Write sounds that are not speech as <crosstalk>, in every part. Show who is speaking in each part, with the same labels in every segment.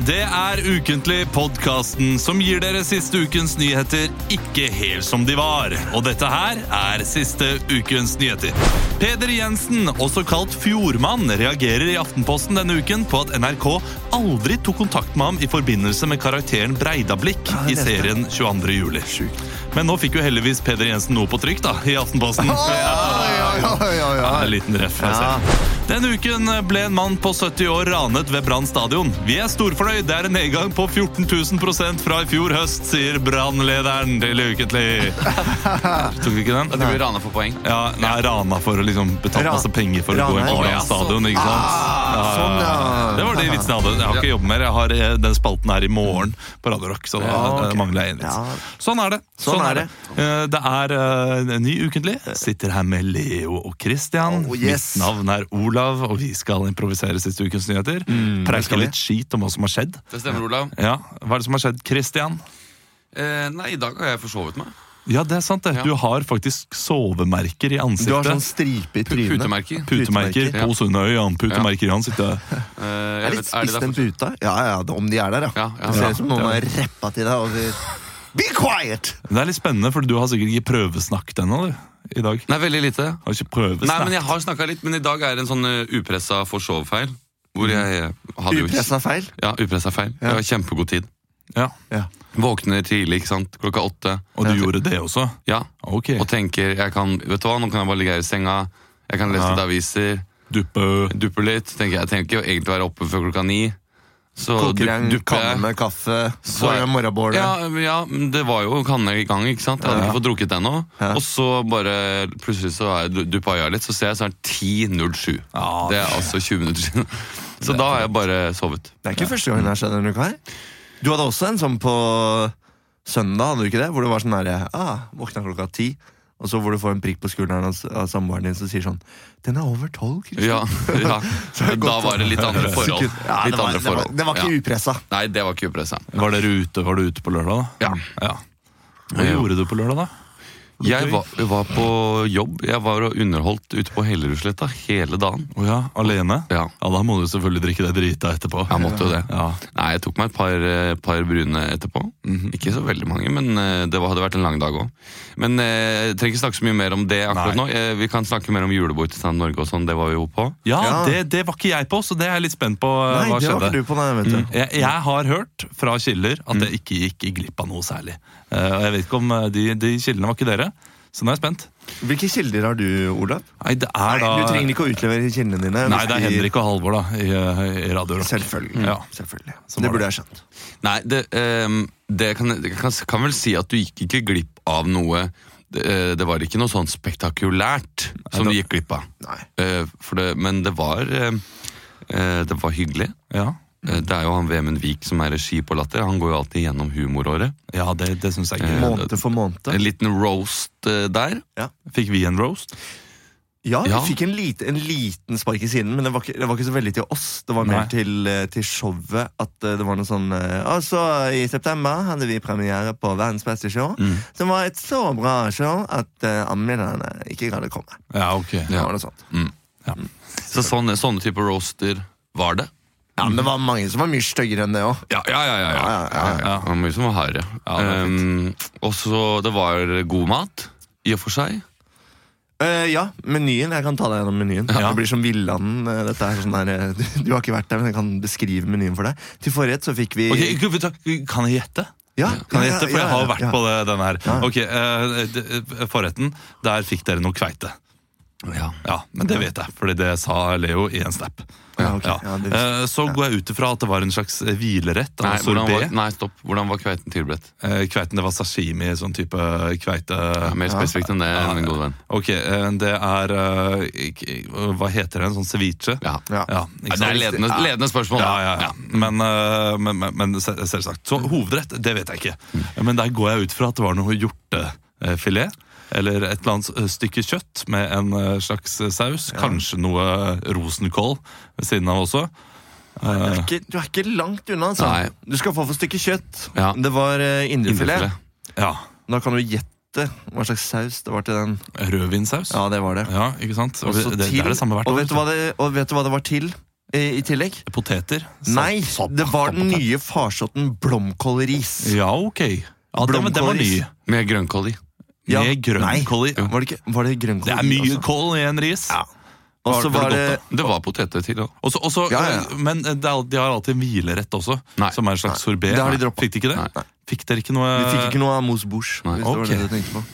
Speaker 1: Det er Ukentlig, podkasten som gir dere siste ukens nyheter ikke helt som de var. Og dette her er siste ukens nyheter. Peder Jensen, også kalt Fjordmann, reagerer i Aftenposten denne uken på at NRK aldri tok kontakt med ham i forbindelse med karakteren Breidablikk i serien 22. juli. Men nå fikk jo heldigvis Peder Jensen noe på trykk da, i Aftenposten.
Speaker 2: Oi, oi, oi, oi.
Speaker 1: Ja, en liten ref. jeg
Speaker 2: Ja.
Speaker 1: ser. Denne uken ble en mann på 70 år ranet ved Brann stadion. Vi er storfornøyd, det er en nedgang på 14 000 prosent fra i fjor høst, sier Brann-lederen til Ukentlig. Tok du ikke
Speaker 3: Du
Speaker 1: den?
Speaker 3: blir rana for poeng.
Speaker 1: Ja, nei, rana for å liksom betale
Speaker 2: Ra-
Speaker 1: masse penger for å gå
Speaker 2: Rana,
Speaker 1: inn på
Speaker 2: ja.
Speaker 1: Brann stadion, ikke sant? Ja, ja,
Speaker 2: sånn, ja.
Speaker 1: ja. Det var de vitsene jeg hadde. Jeg har ikke jobbet mer. Jeg har eh, den spalten her i morgen på Radio Rock, så da
Speaker 2: Ja, ok.
Speaker 1: eh, mangler jeg en vits.
Speaker 2: Ja.
Speaker 1: Sånn er det.
Speaker 2: Sånn er det.
Speaker 1: Eh, Det er eh, en ny ukentlig. Sitter her med Leo og Christian.
Speaker 2: Oh, yes.
Speaker 1: Mitt navn er Olav, og vi skal improvisere siste ukens nyheter.
Speaker 2: Mm, skal
Speaker 1: Preike
Speaker 2: vi.
Speaker 1: litt skit om hva som har skjedd.
Speaker 3: Det stemmer, Olav.
Speaker 1: Ja, Hva er det som har skjedd, Christian?
Speaker 3: Eh, nei, i dag har jeg forsovet meg.
Speaker 1: Ja, det er sant det.
Speaker 3: Ja.
Speaker 1: Du har faktisk sovemerker i
Speaker 2: Du har
Speaker 1: ansiktet.
Speaker 2: sånn stripe i
Speaker 3: Pu-
Speaker 2: trynet.
Speaker 3: Putemerker.
Speaker 1: Putemerker
Speaker 3: Ja.
Speaker 1: på Sundøyan. Putemerker i ansiktet.
Speaker 3: Eh, jeg
Speaker 2: Er
Speaker 3: vet-
Speaker 2: litt spiss
Speaker 3: det
Speaker 2: den
Speaker 3: derfor-
Speaker 2: puta. Ja, ja, det- om de er der,
Speaker 3: Ja, ja.
Speaker 2: Det ser
Speaker 3: Ja,
Speaker 2: ut som noen
Speaker 1: det
Speaker 2: har
Speaker 1: er
Speaker 2: rappa til deg over Be quiet!
Speaker 1: Det er litt spennende, for du har sikkert ikke prøvesnakket ennå du, i dag.
Speaker 3: Nei, veldig lite.
Speaker 1: Har ikke
Speaker 3: Nei, men
Speaker 1: prøvesnakket.
Speaker 3: jeg har snakka litt, men i dag er det en sånn eh, upressa forsovefeil. Hvor jeg eh, hadde jo
Speaker 2: Upressen er feil.
Speaker 3: Ja, upressa feil.
Speaker 2: Mm.
Speaker 3: Jeg
Speaker 2: Ja.
Speaker 3: har kjempegod tid.
Speaker 1: Ja.
Speaker 2: Ja.
Speaker 3: Våkner tidlig, ikke sant. Klokka åtte.
Speaker 1: Og du gjorde det også?
Speaker 3: Ja.
Speaker 1: Ok.
Speaker 3: Og tenker jeg kan, vet du hva, nå kan jeg bare ligge her i senga. Jeg kan lese
Speaker 1: Ja.
Speaker 3: litt aviser.
Speaker 1: Duppe
Speaker 3: Duppe litt. Tenker jeg, jeg tenker jo egentlig å være oppe før klokka ni. Så
Speaker 2: Koker en
Speaker 3: du- dupper
Speaker 2: kanne
Speaker 3: jeg.
Speaker 2: med kaffe,
Speaker 3: Så-
Speaker 2: får en morgenbål
Speaker 3: Ja, ja, men det var jo kanne i gang, ikke sant? Jeg hadde
Speaker 1: Ja.
Speaker 3: ikke fått drukket ennå.
Speaker 2: Ja.
Speaker 3: Og så bare plutselig så er jeg- duppa jeg av litt, så ser jeg så er den 10.07.
Speaker 1: Ja,
Speaker 3: Det er altså 20 minutter siden. Så da har jeg bare sovet.
Speaker 2: Det er ikke første gangen det har skjedd denne uka her. Du hadde også en sånn på søndag, hadde du ikke det? Hvor det var sånn herre ah, Våkna klokka ti, og så hvor du får en prikk på skulderen av, av samboeren din som sier sånn Den er over tolv, Kristian.
Speaker 3: Ja, ja.
Speaker 2: <laughs>
Speaker 3: Da var det litt andre forhold.
Speaker 2: Sekund- Ja, det,
Speaker 3: Litt
Speaker 2: var,
Speaker 3: andre
Speaker 2: det, var,
Speaker 3: forhold.
Speaker 2: det var ikke
Speaker 3: Ja.
Speaker 2: upressa.
Speaker 3: Nei, det var ikke upressa.
Speaker 1: Var dere ute, var du ute på lørdag, da?
Speaker 3: Ja.
Speaker 1: Hva
Speaker 3: Ja.
Speaker 1: gjorde du på lørdag, da?
Speaker 3: Jeg var, var på jobb. Jeg var og underholdt ute på Hellerudsletta hele dagen.
Speaker 1: Å ja, alene?
Speaker 3: Ja,
Speaker 1: Ja, da må du selvfølgelig drikke deg drita etterpå.
Speaker 3: jeg måtte jo det.
Speaker 1: Ja.
Speaker 3: Nei, jeg tok meg et par, eh, par brune etterpå. Ikke så veldig mange, men eh, det var- hadde vært en lang dag òg. Men eh, jeg trenger ikke snakke så mye mer om det akkurat
Speaker 1: Nei.
Speaker 3: nå. Eh, Vi kan snakke mer om julebord til Stand Norge og sånn, det var vi jo på.
Speaker 1: Ja,
Speaker 2: Ja.
Speaker 1: Det, det var ikke jeg på, så det er jeg litt spent på. eh,
Speaker 2: Nei,
Speaker 1: hva
Speaker 2: det var
Speaker 1: skjedde.
Speaker 2: ikke du på, nei, vet du.
Speaker 1: Mm. Jeg, jeg har hørt fra kilder at jeg ikke gikk glipp av noe særlig. Eh, Og jeg vet ikke om eh, de, de kildene var ikke dere, så nå er jeg spent.
Speaker 2: Hvilke kilder har du, Olav?
Speaker 1: Nei, det er
Speaker 2: Nei,
Speaker 1: da
Speaker 2: du trenger ikke å utlevere kildene dine.
Speaker 1: Nei,
Speaker 2: hvis
Speaker 1: det er
Speaker 2: de-
Speaker 1: Henrik og Halvor, da, i, eh, i Radio Rock.
Speaker 2: Selvfølgelig.
Speaker 1: Ja.
Speaker 2: Selvfølgelig.
Speaker 1: Som
Speaker 2: det
Speaker 1: var
Speaker 2: burde jeg skjønt.
Speaker 3: Nei, det, ehm, det, kan, det kan, kan vel si at du gikk ikke glipp av noe Det, eh, det var ikke noe sånn spektakulært som du
Speaker 1: Nei,
Speaker 3: gikk glipp av.
Speaker 2: Nei.
Speaker 3: Eh, For det, men det var eh, eh, Det var hyggelig.
Speaker 1: Ja,
Speaker 3: Eh, Det er jo han Vemund Vik som er regi på Latter. Han går jo alltid gjennom humoråret.
Speaker 1: ja det, det syns jeg ikke.
Speaker 3: Eh,
Speaker 2: Måned for
Speaker 3: En
Speaker 2: måned.
Speaker 3: liten roast eh, der.
Speaker 1: Fikk vi en roast?
Speaker 2: Ja, vi
Speaker 3: Ja.
Speaker 2: fikk en, lite, en liten spark i siden, men det var, ikke, det var ikke så veldig til oss. Det var mer
Speaker 1: Nei.
Speaker 2: til, eh, til showet at eh, det var noe sånn eh, Altså, i september hadde vi premiere på Verdens beste show,
Speaker 1: Mm.
Speaker 2: som var et så bra show at eh, anmelderne ikke gadd å komme.
Speaker 1: Ja, ok.
Speaker 2: Det
Speaker 3: Ja.
Speaker 2: var noe sånt.
Speaker 3: Så sånne, sånne typer roaster var det.
Speaker 2: Ja, men det var mange som var mye styggere enn det òg.
Speaker 3: Ja, ja, ja. ja,
Speaker 2: Ja, ja, ja,
Speaker 3: Det var mye som var hardere.
Speaker 1: Ja, det var
Speaker 3: Ehm, og så det var god mat, i og for seg.
Speaker 2: Eh, ja, menyen. Jeg kan ta deg gjennom menyen. Det blir som Villanden. eh, Dette er sånn der, eh, <laughs> du, du har ikke vært der, men jeg kan beskrive menyen for deg. Til forrett så fikk vi
Speaker 1: Ok, vet du hva, Kan jeg gjette?
Speaker 2: ja,
Speaker 1: Kan jeg
Speaker 2: ja,
Speaker 1: gjette, For
Speaker 2: ja,
Speaker 1: jeg har
Speaker 2: ja,
Speaker 1: jo vært
Speaker 2: ja.
Speaker 1: på det, denne her.
Speaker 2: Ja.
Speaker 1: Ok, eh, d- eh, Forretten, der fikk dere noe kveite.
Speaker 3: Ja.
Speaker 1: Ja, Men det vet jeg, fordi det sa Leo i en snap.
Speaker 2: Ja, ok,
Speaker 1: Ja.
Speaker 2: ja, det-
Speaker 1: Eh, Så går jeg ut ifra at det var en slags hvilerett.
Speaker 3: Nei,
Speaker 1: Altså
Speaker 3: hvordan var,
Speaker 1: sorbet.
Speaker 3: nei, stopp. Hvordan var kveiten tilberedt?
Speaker 1: Eh, Kveiten, det var sashimi, sånn type kveite...
Speaker 3: Mer spesifikt enn det, min gode venn.
Speaker 1: Ok, eh, det er eh, ikke- Hva heter det? En sånn ceviche?
Speaker 3: Ja.
Speaker 2: Ja.
Speaker 1: Ja,
Speaker 3: Nei,
Speaker 1: ikke
Speaker 3: Det
Speaker 1: sant?
Speaker 3: er ledende, ledende spørsmål.
Speaker 1: Ja, ja, ja. Men, eh, men, men, men se- selvsagt. Så hovedrett, det vet jeg ikke. Men der går jeg ut fra at det var noe hjortefilet. Eller et eller annet s- stykke kjøtt med en eh, slags saus. Kanskje noe eh, rosenkål ved siden av også.
Speaker 2: Du er ikke, du er ikke langt unna, altså.
Speaker 3: Nei.
Speaker 2: Du skal få for et stykke kjøtt.
Speaker 3: Ja.
Speaker 2: Det var eh, indrefilet.
Speaker 3: Indrefilet.
Speaker 1: Ja,
Speaker 2: Da kan du gjette hva slags saus det var til den.
Speaker 1: Rødvinsaus.
Speaker 2: Ja, det var det.
Speaker 1: Ja, ikke sant? Og
Speaker 2: Også
Speaker 1: Eh, det, det, det
Speaker 2: til-
Speaker 1: er det samme hvert
Speaker 2: og
Speaker 1: år.
Speaker 2: vet, du hva det, og vet du hva det var til? eh, i tillegg.
Speaker 1: Poteter? Salt-
Speaker 2: Nei,
Speaker 1: salt-
Speaker 2: det var den
Speaker 1: saltpotet.
Speaker 2: nye farsotten blomkålris.
Speaker 1: Ja, ok. Ja, den, men den var ny.
Speaker 2: Blomkålris.
Speaker 3: Med grønnkål i.
Speaker 1: Med
Speaker 2: Ja, nei.
Speaker 1: grønnkål i.
Speaker 2: Var det, ikke, var det grønnkål?
Speaker 1: Det er
Speaker 2: i
Speaker 1: mye
Speaker 2: også?
Speaker 1: kål i en ris.
Speaker 2: Ja. Og så
Speaker 1: Var
Speaker 2: var
Speaker 1: det
Speaker 2: det
Speaker 1: godt,
Speaker 3: Det var poteter til òg.
Speaker 1: Også, også,
Speaker 2: Ja, ja, ja.
Speaker 1: eh, Men det er, al- de har alltid en hvilerett også,
Speaker 3: Nei.
Speaker 1: som er en slags sorbé.
Speaker 2: Det har de droppet.
Speaker 1: Fikk de ikke det?
Speaker 3: Nei.
Speaker 1: Fikk dere ikke noe
Speaker 2: Vi fikk ikke noe av mousse bouche.
Speaker 3: Nei,
Speaker 2: Hvis det var
Speaker 1: Eh, ok.
Speaker 2: det du tenkte på.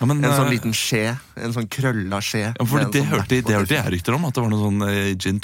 Speaker 1: ja, men,
Speaker 2: En sånn
Speaker 1: eh,
Speaker 2: liten skje. En sånn krølla skje.
Speaker 1: ja, for
Speaker 2: med
Speaker 1: det,
Speaker 2: en sånn
Speaker 1: hørte, det
Speaker 2: black
Speaker 1: hørte jeg rykter om, at det var noe sånn eh, gin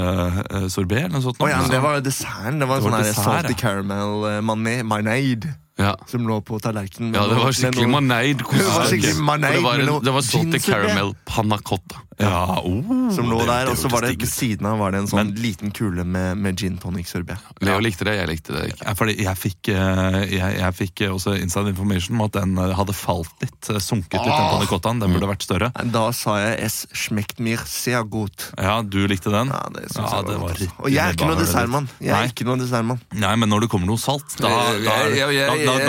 Speaker 1: tonic-sorbé eller noe sånt.
Speaker 2: Å ja, men det var jo desserten.
Speaker 1: Det
Speaker 2: Det var en
Speaker 1: var
Speaker 2: sånn her
Speaker 1: dessert,
Speaker 2: salty
Speaker 1: ja.
Speaker 2: caramel eh, mane- marnade
Speaker 3: Ja.
Speaker 2: som lå på tallerkenen.
Speaker 3: ja,
Speaker 2: med
Speaker 3: det
Speaker 2: noe-
Speaker 3: var
Speaker 2: med
Speaker 3: skikkelig
Speaker 2: noe-
Speaker 3: maneid.
Speaker 2: <laughs> Det var skikkelig maneid
Speaker 3: det var,
Speaker 2: med
Speaker 3: en,
Speaker 2: noe
Speaker 3: det var salty
Speaker 2: ginsorbet.
Speaker 3: caramel panna cotta.
Speaker 1: Ja, oh,
Speaker 2: Som lå
Speaker 1: det-
Speaker 2: der,
Speaker 1: det
Speaker 2: og så
Speaker 1: hørtes
Speaker 2: var det
Speaker 1: digg
Speaker 2: ved
Speaker 1: ut.
Speaker 2: siden av var det en sånn liten kule med, med gin tonic-sorbet.
Speaker 3: Leo likte det, jeg likte det ikke.
Speaker 1: Ja, Fordi jeg fikk, eh, jeg, jeg fikk eh, også inside information om at den eh, hadde falt litt, eh, sunket litt, den
Speaker 3: Ah.
Speaker 1: pannekottaen. Den
Speaker 2: Mm.
Speaker 1: burde vært større.
Speaker 2: Da sa jeg 'es schmeckt mir sehr gut'.
Speaker 1: Ja, du likte den?
Speaker 2: Ja, det
Speaker 1: Ja,
Speaker 2: synes jeg var
Speaker 1: det
Speaker 2: godt,
Speaker 1: var
Speaker 2: altså.
Speaker 1: riktig
Speaker 2: Og jeg er ikke noe
Speaker 1: nedbare, det.
Speaker 2: dessertmann. Jeg
Speaker 1: Nei.
Speaker 2: er ikke noe dessertmann.
Speaker 1: Nei, men når det kommer noe salt, da, da, er- da, da, da,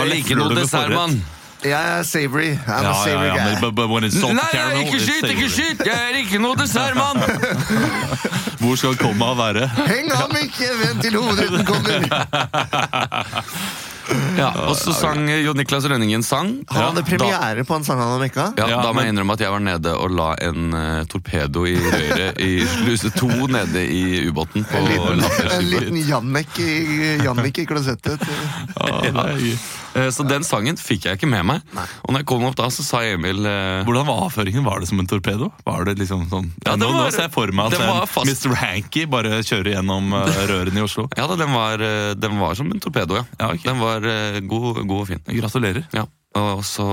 Speaker 1: lefler
Speaker 3: liker
Speaker 1: du
Speaker 3: noe
Speaker 1: med
Speaker 3: dessertmann.
Speaker 1: forrett.
Speaker 2: Jeg er savory. I'm
Speaker 1: Ja,
Speaker 2: a
Speaker 1: ja,
Speaker 2: savory
Speaker 1: ja, men,
Speaker 2: guy.
Speaker 1: but, but when it's
Speaker 3: Nei,
Speaker 1: salted
Speaker 3: nei,
Speaker 1: caramel,
Speaker 3: ikke
Speaker 1: it's
Speaker 3: skyt, ikke
Speaker 1: savory.
Speaker 3: skyt! Jeg er ikke noe dessertmann!
Speaker 1: Hvor skal komma være?
Speaker 2: <laughs> Heng ham ikke! Vent til hovedruten
Speaker 1: <laughs>
Speaker 2: kommer!
Speaker 3: <laughs> Ja, og så sang eh, Jo Niklas Rønningen sang.
Speaker 2: Han
Speaker 3: Ja,
Speaker 2: hadde premiere på en sang han hadde mekka.
Speaker 3: Da, ja,
Speaker 1: Ja,
Speaker 3: da må
Speaker 1: men-
Speaker 3: jeg innrømme at jeg var nede og la en eh, torpedo i røret i sluse to nede i ubåten. på
Speaker 2: En
Speaker 3: Latvia-skipet.
Speaker 2: liten Jannik i, Jannik i klosettet.
Speaker 3: Eh, Så den sangen fikk jeg ikke med meg. Og når jeg kom opp da, så sa Emil eh,
Speaker 1: Hvordan var avføringen? Var det som en torpedo? Var det liksom sånn
Speaker 3: Ja, det
Speaker 1: nå, nå
Speaker 3: var-
Speaker 1: ser jeg for meg
Speaker 3: det var
Speaker 1: at en
Speaker 3: fast.
Speaker 1: Mr. Hanky bare kjører gjennom eh, rørene i
Speaker 2: <laughs>
Speaker 1: Oslo.
Speaker 3: Ja da, den var, eh, den var som en torpedo, ja.
Speaker 1: Ja, ok.
Speaker 3: Den var eh, god, god og fin.
Speaker 1: Gratulerer.
Speaker 3: Ja. Og så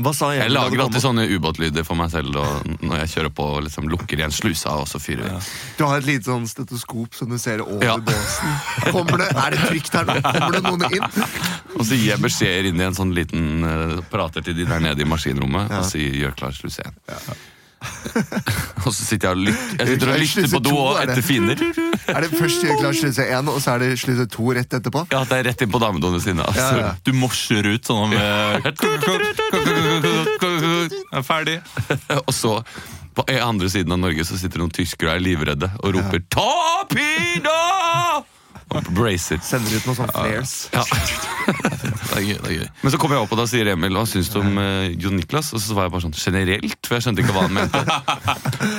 Speaker 2: Hva sa
Speaker 3: Jeg
Speaker 2: Emil da
Speaker 3: lager
Speaker 2: du kom
Speaker 3: alltid
Speaker 2: opp?
Speaker 3: sånne ubåtlyder for meg selv og når jeg kjører på og liksom lukker igjen slusa, og så fyrer vi.
Speaker 2: Du har et lite sånn stetoskop som du ser over
Speaker 3: Ja.
Speaker 2: båsen. Kommer det, er det trygt her nå? Kommer det noen inn?
Speaker 3: Og så gir jeg beskjeder inn i en sånn liten eh, Prater til de der nede i maskinrommet og sier 'gjør klar sluse 1'. <laughs> og så sitter jeg og lytter, jeg sitter og
Speaker 2: Gjør klar
Speaker 3: lytter på
Speaker 2: sluse
Speaker 3: do
Speaker 2: 2
Speaker 3: og
Speaker 2: er det.
Speaker 3: etter fiender.
Speaker 2: Er det først gjør klar sluse én, og så er det sluse to rett etterpå?
Speaker 3: Ja, det er rett inn på damedoene sine.
Speaker 2: Ja,
Speaker 3: Altså.
Speaker 2: ja.
Speaker 1: Du morser ut sånn med <laughs> Jeg er ferdig.
Speaker 3: <laughs> Og så på eh, andre siden av Norge så sitter noen tyskere og er livredde og roper 'Torpedo!' Og bracer.
Speaker 2: Sender ut noen sånne flares.
Speaker 3: Ja. det er gøy, det er gøy. Men så kom jeg opp, og da sier Emil hva syns du om eh, Jon Niklas? Og så var jeg bare sånn generelt, for jeg skjønte ikke hva han mente.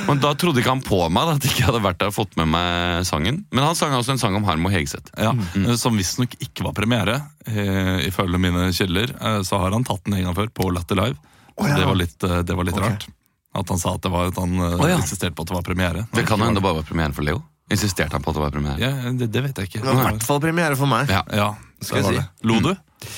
Speaker 3: Men da trodde ikke han på meg, da, at ikke jeg hadde vært der og fått med meg sangen. Men han sang også en sang om Harm og Hegseth.
Speaker 1: Ja, eh, Som visstnok ikke var premiere, eh, ifølge mine kilder. Eh, så har han tatt den en gang før, på Latter Live.
Speaker 2: Å, ja.
Speaker 1: Det var litt, eh, det var litt
Speaker 2: Ok.
Speaker 1: rart. At han sa at, det var, at han eh,
Speaker 3: Å, ja.
Speaker 1: insisterte på at det var premiere.
Speaker 3: Det kan jo hende det bare var premieren for Leo. Insisterte han på at det var premiere?
Speaker 1: Ja, det, det vet jeg ikke.
Speaker 2: Det var i hvert fall premiere for meg.
Speaker 3: Ja.
Speaker 1: Ja,
Speaker 2: Skal
Speaker 1: det
Speaker 2: jeg
Speaker 1: var
Speaker 2: si?
Speaker 1: det. Lo du?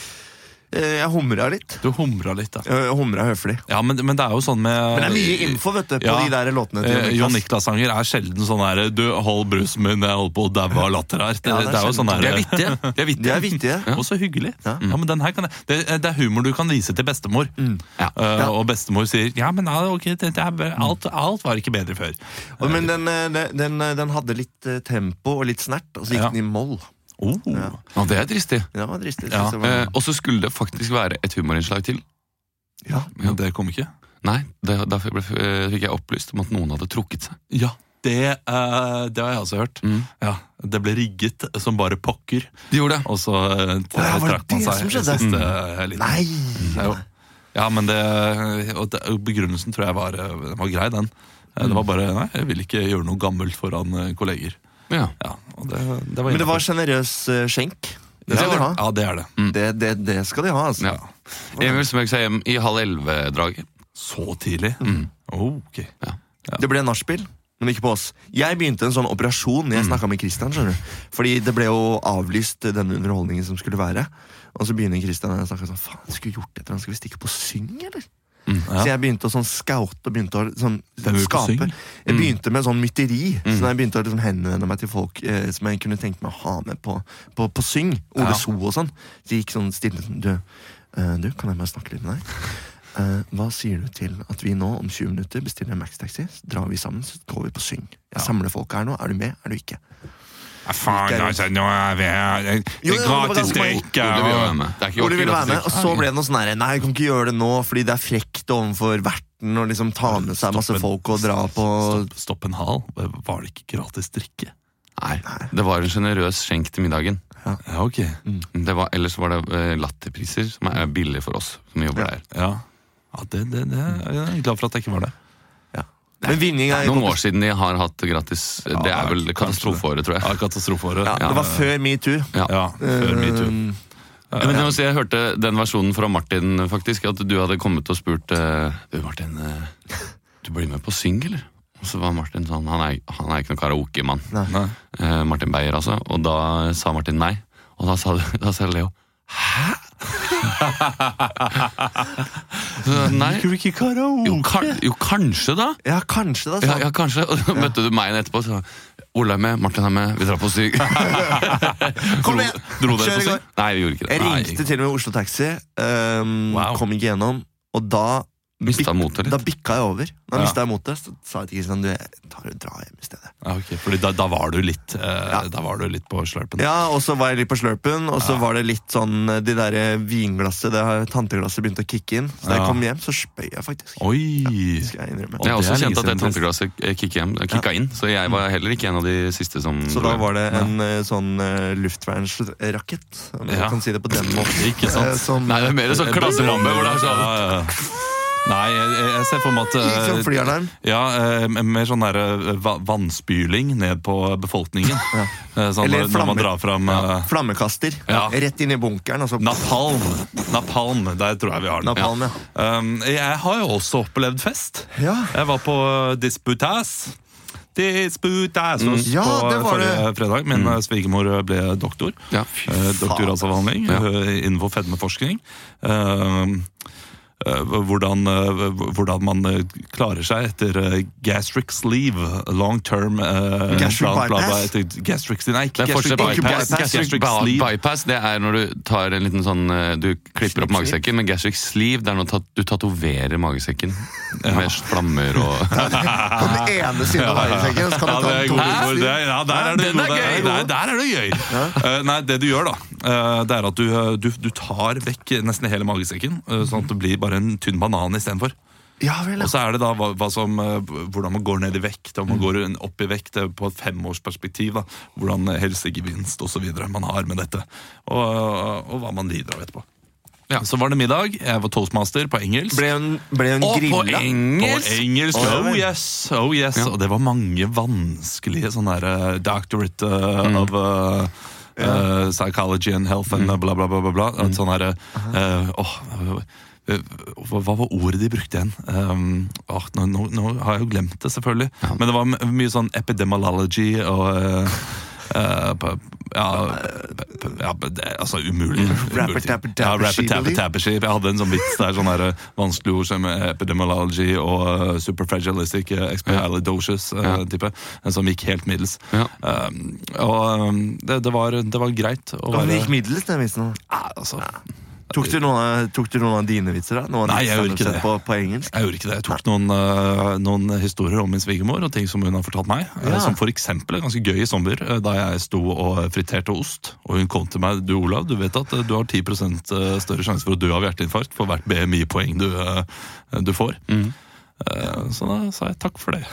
Speaker 2: Eh, Jeg humra litt.
Speaker 1: Du humra litt, ja.
Speaker 2: Jeg humra høflig.
Speaker 1: Ja, men, men det er jo sånn med
Speaker 2: Men det er mye info vet du, på
Speaker 1: Ja.
Speaker 2: de der låtene til
Speaker 1: Eh, Jon Niklas-sanger er sjelden sånn her Du, hold brusen min, jeg holder på å daue av latter her. Det,
Speaker 2: Ja,
Speaker 1: det, er
Speaker 2: det er
Speaker 1: jo
Speaker 2: sjelden.
Speaker 1: sånn her
Speaker 3: De er vittige. De er
Speaker 2: De
Speaker 3: vittige.
Speaker 2: er vittige.
Speaker 1: Og så hyggelig. Ja.
Speaker 2: Ja.
Speaker 1: men den her kan jeg, det, eh, det er humor du kan vise til bestemor.
Speaker 3: Ja.
Speaker 1: Eh,
Speaker 2: Ja. Mm.
Speaker 1: Og bestemor sier ja, men ja, ok, det, det er, bra. alt, alt var ikke bedre før.
Speaker 2: Og- Men den, eh, den, den, eh, den hadde litt eh, tempo og litt snert, og så gikk
Speaker 1: Ja.
Speaker 2: den i moll.
Speaker 1: Oh.
Speaker 3: Ja, det er dristig.
Speaker 2: Det var dristig.
Speaker 1: Ja,
Speaker 2: synes jeg
Speaker 3: Eh,
Speaker 2: var-
Speaker 3: og så skulle det faktisk være et humorinnslag til.
Speaker 2: ja.
Speaker 1: Men det kom ikke.
Speaker 3: Nei, det, da fikk jeg ble- eh, fikk jeg opplyst om at noen hadde trukket seg.
Speaker 1: Ja, det, eh, det har jeg også hørt. Ja, Det ble rigget som bare pokker,
Speaker 3: De gjorde det.
Speaker 1: og så eh,
Speaker 2: Å ja, var det
Speaker 1: trakk man
Speaker 2: det
Speaker 1: seg.
Speaker 2: som
Speaker 1: i
Speaker 2: skjedde? Mm.
Speaker 1: Siste, eh, liten.
Speaker 2: Nei!
Speaker 1: Ja, jo. Ja, men det, og det, og begrunnelsen tror jeg var, den var grei, den. Eh,
Speaker 2: Mm.
Speaker 1: Det var bare Nei, jeg vil ikke gjøre noe gammelt foran eh, kolleger.
Speaker 3: Ja.
Speaker 1: Ja, og det, det var
Speaker 2: Men det var
Speaker 1: innenfor.
Speaker 2: sjenerøs eh, skjenk. Det skal
Speaker 1: ja,
Speaker 2: de ha.
Speaker 1: Ja, det er det.
Speaker 2: Det, det, det skal de ha, altså.
Speaker 3: Ja. Emil smøg seg hjem i halv elleve-draget.
Speaker 1: Så tidlig? Mm. Ok.
Speaker 2: Det ble nachspiel, men ikke på oss. Jeg begynte en sånn operasjon.
Speaker 1: Mm.
Speaker 2: Jeg snakka med Christian, skjønner du. Fordi det ble jo avlyst eh, denne underholdningen som skulle være. Og så begynner Christian og jeg snakker sånn Faen, skulle vi gjort et eller annet? Skal vi stikke på syng, eller? Så jeg begynte å sånn scoute og begynte å sånn
Speaker 1: Hvem vil Mm, på
Speaker 2: skape.
Speaker 1: syng?
Speaker 2: Jeg begynte med sånn mytteri. Så da jeg begynte å liksom henvende meg til folk eh, som jeg kunne tenkt meg å ha med på, på, på syng. Ole
Speaker 1: Ja.
Speaker 2: So og sånn. Så jeg gikk sånn stille sånn du, eh, du, kan jeg bare snakke litt med deg? Eh, hva sier du til at vi nå om 20 minutter bestiller en Max-taxi, så drar vi sammen, så går vi på syng? Jeg samler folk her nå. Er du med? Er du ikke?
Speaker 1: Faen, altså, nå er vi her Det
Speaker 2: Jo,
Speaker 1: er sånn
Speaker 2: jo,
Speaker 1: gratis
Speaker 2: det var ganske
Speaker 1: drikke.
Speaker 3: Ole vil
Speaker 1: og-
Speaker 3: være med. Det er ikke
Speaker 2: Ole ville være med,
Speaker 3: gratis.
Speaker 2: og så ble det noe sånn her Nei, du kan ikke gjøre det nå, fordi det er frekt overfor verten å liksom ta med seg masse
Speaker 1: Stopp en-
Speaker 2: folk og dra på
Speaker 1: Stopp, stopp en hal. Var det ikke gratis drikke?
Speaker 3: Nei, det var en sjenerøs skjenk til middagen.
Speaker 1: Ja, ok.
Speaker 3: Det var, ellers var det eh, latterpriser, som er billig for oss som jobber der.
Speaker 1: Ja, ja det, det, det Jeg er glad for at det ikke var det.
Speaker 2: Ja. Men vinning
Speaker 3: Det
Speaker 2: er
Speaker 3: er noen år siden de har hatt det gratis. Det
Speaker 1: Ja,
Speaker 3: er vel
Speaker 1: kanskje
Speaker 3: katastrofeåret,
Speaker 1: Ja,
Speaker 3: tror jeg.
Speaker 1: Katastrofeåret.
Speaker 2: ja, Det var før metoo.
Speaker 3: Ja.
Speaker 1: Ja, før metoo.
Speaker 2: Um,
Speaker 3: Ja, Men jeg, må si, jeg hørte den versjonen fra Martin, faktisk. At du hadde kommet og spurt eh, Du, Martin, eh, du blir med på syng, eller? Og så var Martin sånn Han er, han er ikke noen karaokemann.
Speaker 2: Nei.
Speaker 1: Nei.
Speaker 3: Eh, Martin Beyer, altså. Og da sa Martin nei. Og da sa, du- da sa Leo Hæ? <laughs> Så, nei.
Speaker 2: Liker du ikke karaoke?
Speaker 3: Jo, kan, jo, kanskje, da.
Speaker 2: Ja, kanskje det.
Speaker 3: Ja,
Speaker 2: Altså.
Speaker 3: ja, kanskje. Og så møtte du meg igjen etterpå. Så, Ola er med, Martin er med, vi drar på syng.
Speaker 2: Kom igjen!
Speaker 3: Dro dere på
Speaker 2: Kjør i
Speaker 3: syng? Nei, vi gjorde ikke det.
Speaker 2: Jeg
Speaker 3: Nei.
Speaker 2: ringte til og med Oslo Taxi, um,
Speaker 1: Wow.
Speaker 2: kom ikke gjennom, og da
Speaker 3: Mistet
Speaker 2: bik-
Speaker 3: motet litt.
Speaker 2: Da bikka jeg over. Da
Speaker 1: Ja.
Speaker 2: mistet jeg motet, så sa jeg til Kristian du, jeg tar og drar hjem i stedet.
Speaker 1: Ja, ok. Fordi da, da var du litt eh, Da var du litt på slurpen.
Speaker 2: Ja, og så var jeg litt på slurpen, og så var det litt sånn eh, De der eh, vinglasset, det har- tanteglasset begynte å kicke inn. Så da jeg
Speaker 1: Ja.
Speaker 2: kom hjem, så spøy jeg faktisk.
Speaker 1: Oi!
Speaker 2: Skal jeg
Speaker 1: Og
Speaker 3: Jeg
Speaker 2: innrømme.
Speaker 3: har
Speaker 1: det er
Speaker 3: også
Speaker 1: lenge
Speaker 3: kjent at det
Speaker 1: siden
Speaker 3: tanteglasset eh, kick hjem- eh, kicka inn, så jeg var heller ikke en av de siste som
Speaker 2: Så da var det en eh, sånn eh, luftvernsrakett, om
Speaker 1: Ja.
Speaker 2: jeg kan si det på den måten.
Speaker 1: Ikke sant?
Speaker 2: eh, som-
Speaker 3: Nei, det er mer sånn klasseramme hvor det er sånn
Speaker 1: Eh, Ja, ja, ja. Nei, jeg, jeg- jeg ser for meg at
Speaker 2: Litt
Speaker 1: eh,
Speaker 2: som flyalarm.
Speaker 1: Ja, eh, mer sånn der eh, va- vannspyling ned på befolkningen. Eh, sånn, når,
Speaker 2: Eller
Speaker 1: når
Speaker 2: flammer.
Speaker 1: man drar fram eh,
Speaker 2: Flammekaster.
Speaker 1: Ja.
Speaker 2: Rett inn i bunkeren, og så
Speaker 1: napalm. Napalm, der tror jeg vi har den.
Speaker 2: napalm, ja.
Speaker 1: Um, jeg har jo også opplevd fest.
Speaker 2: ja.
Speaker 1: Jeg var på Disputas. Disputas hos
Speaker 2: Mm. Ja,
Speaker 1: på
Speaker 2: det Mm. var
Speaker 1: forrige fredag. Min eh, svigermor ble doktor.
Speaker 3: Ja.
Speaker 1: Eh, Doktoravhandling
Speaker 3: Ja.
Speaker 2: altså.
Speaker 1: eh, innenfor fedmeforskning. Eh, eh, hvordan, eh, hvordan man eh, klarer seg etter eh, gastric sleeve, long term eh,
Speaker 2: Gastric bypass?
Speaker 1: etter gastric, Nei,
Speaker 3: Det
Speaker 1: ikke
Speaker 3: er
Speaker 1: gastric
Speaker 3: forskjell på
Speaker 2: ikke
Speaker 1: bypass.
Speaker 3: bypass. Gastric
Speaker 1: Gastric
Speaker 3: by-
Speaker 1: sleeve.
Speaker 3: bypass det er når du tar en liten sånn eh, Du klipper opp
Speaker 2: Slip, slip.
Speaker 3: magesekken, men gastric sleeve det er når du tat- du tatoverer magesekken med flammer og
Speaker 2: På den ene siden av varesekken, så kan
Speaker 1: Ja,
Speaker 2: du ta
Speaker 1: det er
Speaker 2: den
Speaker 1: god
Speaker 2: to
Speaker 1: humor. Det,
Speaker 2: siden.
Speaker 1: er- ja, der er det
Speaker 3: Den er
Speaker 1: god-
Speaker 3: gøy.
Speaker 1: Der, der er det gøy. Eh, nei, det du gjør, da, eh, det er at du, eh, du, du tar vekk nesten hele magesekken, eh, sånn at det blir bare en tynn banan istedenfor.
Speaker 2: Ja vel,
Speaker 1: Og
Speaker 2: ja.
Speaker 1: så er det da hva, hva som, eh, hvordan man går ned i vekt, om man går en- opp i vekt eh, på et femårsperspektiv. Da. Hvordan helsegevinst osv. man har med dette, og, og hva man lider av etterpå.
Speaker 3: Ja.
Speaker 1: Så var det middag. Jeg var toastmaster på engelsk.
Speaker 2: Ble hun, ble hun
Speaker 3: Og på
Speaker 2: grilla?
Speaker 3: engelsk!
Speaker 1: På engelsk.
Speaker 2: Å, ja
Speaker 1: Oh
Speaker 2: vel.
Speaker 1: yes, oh yes. Og det var mange vanskelige sånne der, eh, doctorate eh,
Speaker 2: Mm.
Speaker 1: of eh, eh, psychology and health and
Speaker 2: Mm.
Speaker 1: bla, bla, bla. bla, bla. At Sånn her, eh, eh, åh, eh, hva hva var ordet de brukte igjen? Um, åh, nå, nå, nå har jeg jo glemt det, selvfølgelig. Men det var m- mye sånn epidemiology og eh, eh, p- ja, p- p- ja, p- det, altså umulig. umulig ting.
Speaker 2: Rapper-tapper-tapper-skibidi.
Speaker 1: Ja, rapper-tapper-tapper-skib. Jeg hadde en sånn vits der, sånn der eh, vanskelige ord som epidemiology og eh, superfragilistic eh, expialidocious eh,
Speaker 3: Ja.
Speaker 1: type, eh, som gikk helt middels.
Speaker 3: Ja.
Speaker 1: Um, og um, det, det, var, det var greit å
Speaker 2: Hun
Speaker 1: være
Speaker 2: gikk middels, den vitsen.
Speaker 1: Ja, altså,
Speaker 2: Tok du noen av, tok du noen av dine vitser? da? Noen av
Speaker 1: Nei,
Speaker 2: de
Speaker 1: jeg gjorde ikke
Speaker 2: standup-set
Speaker 1: det.
Speaker 2: På, på engelsk?
Speaker 1: Jeg gjorde ikke det. Jeg tok noen, øh, noen historier om min svigermor og ting som hun har fortalt meg.
Speaker 2: Ja.
Speaker 1: Eh, Som for eksempel en ganske gøy sommer eh, da jeg sto og friterte ost. Og hun kom til meg Du Olav, du vet at eh, du har 10 større sjanse for å dø av hjerteinfarkt for hvert BMI-poeng du, eh, du får. Eh, Så da sa jeg takk for det.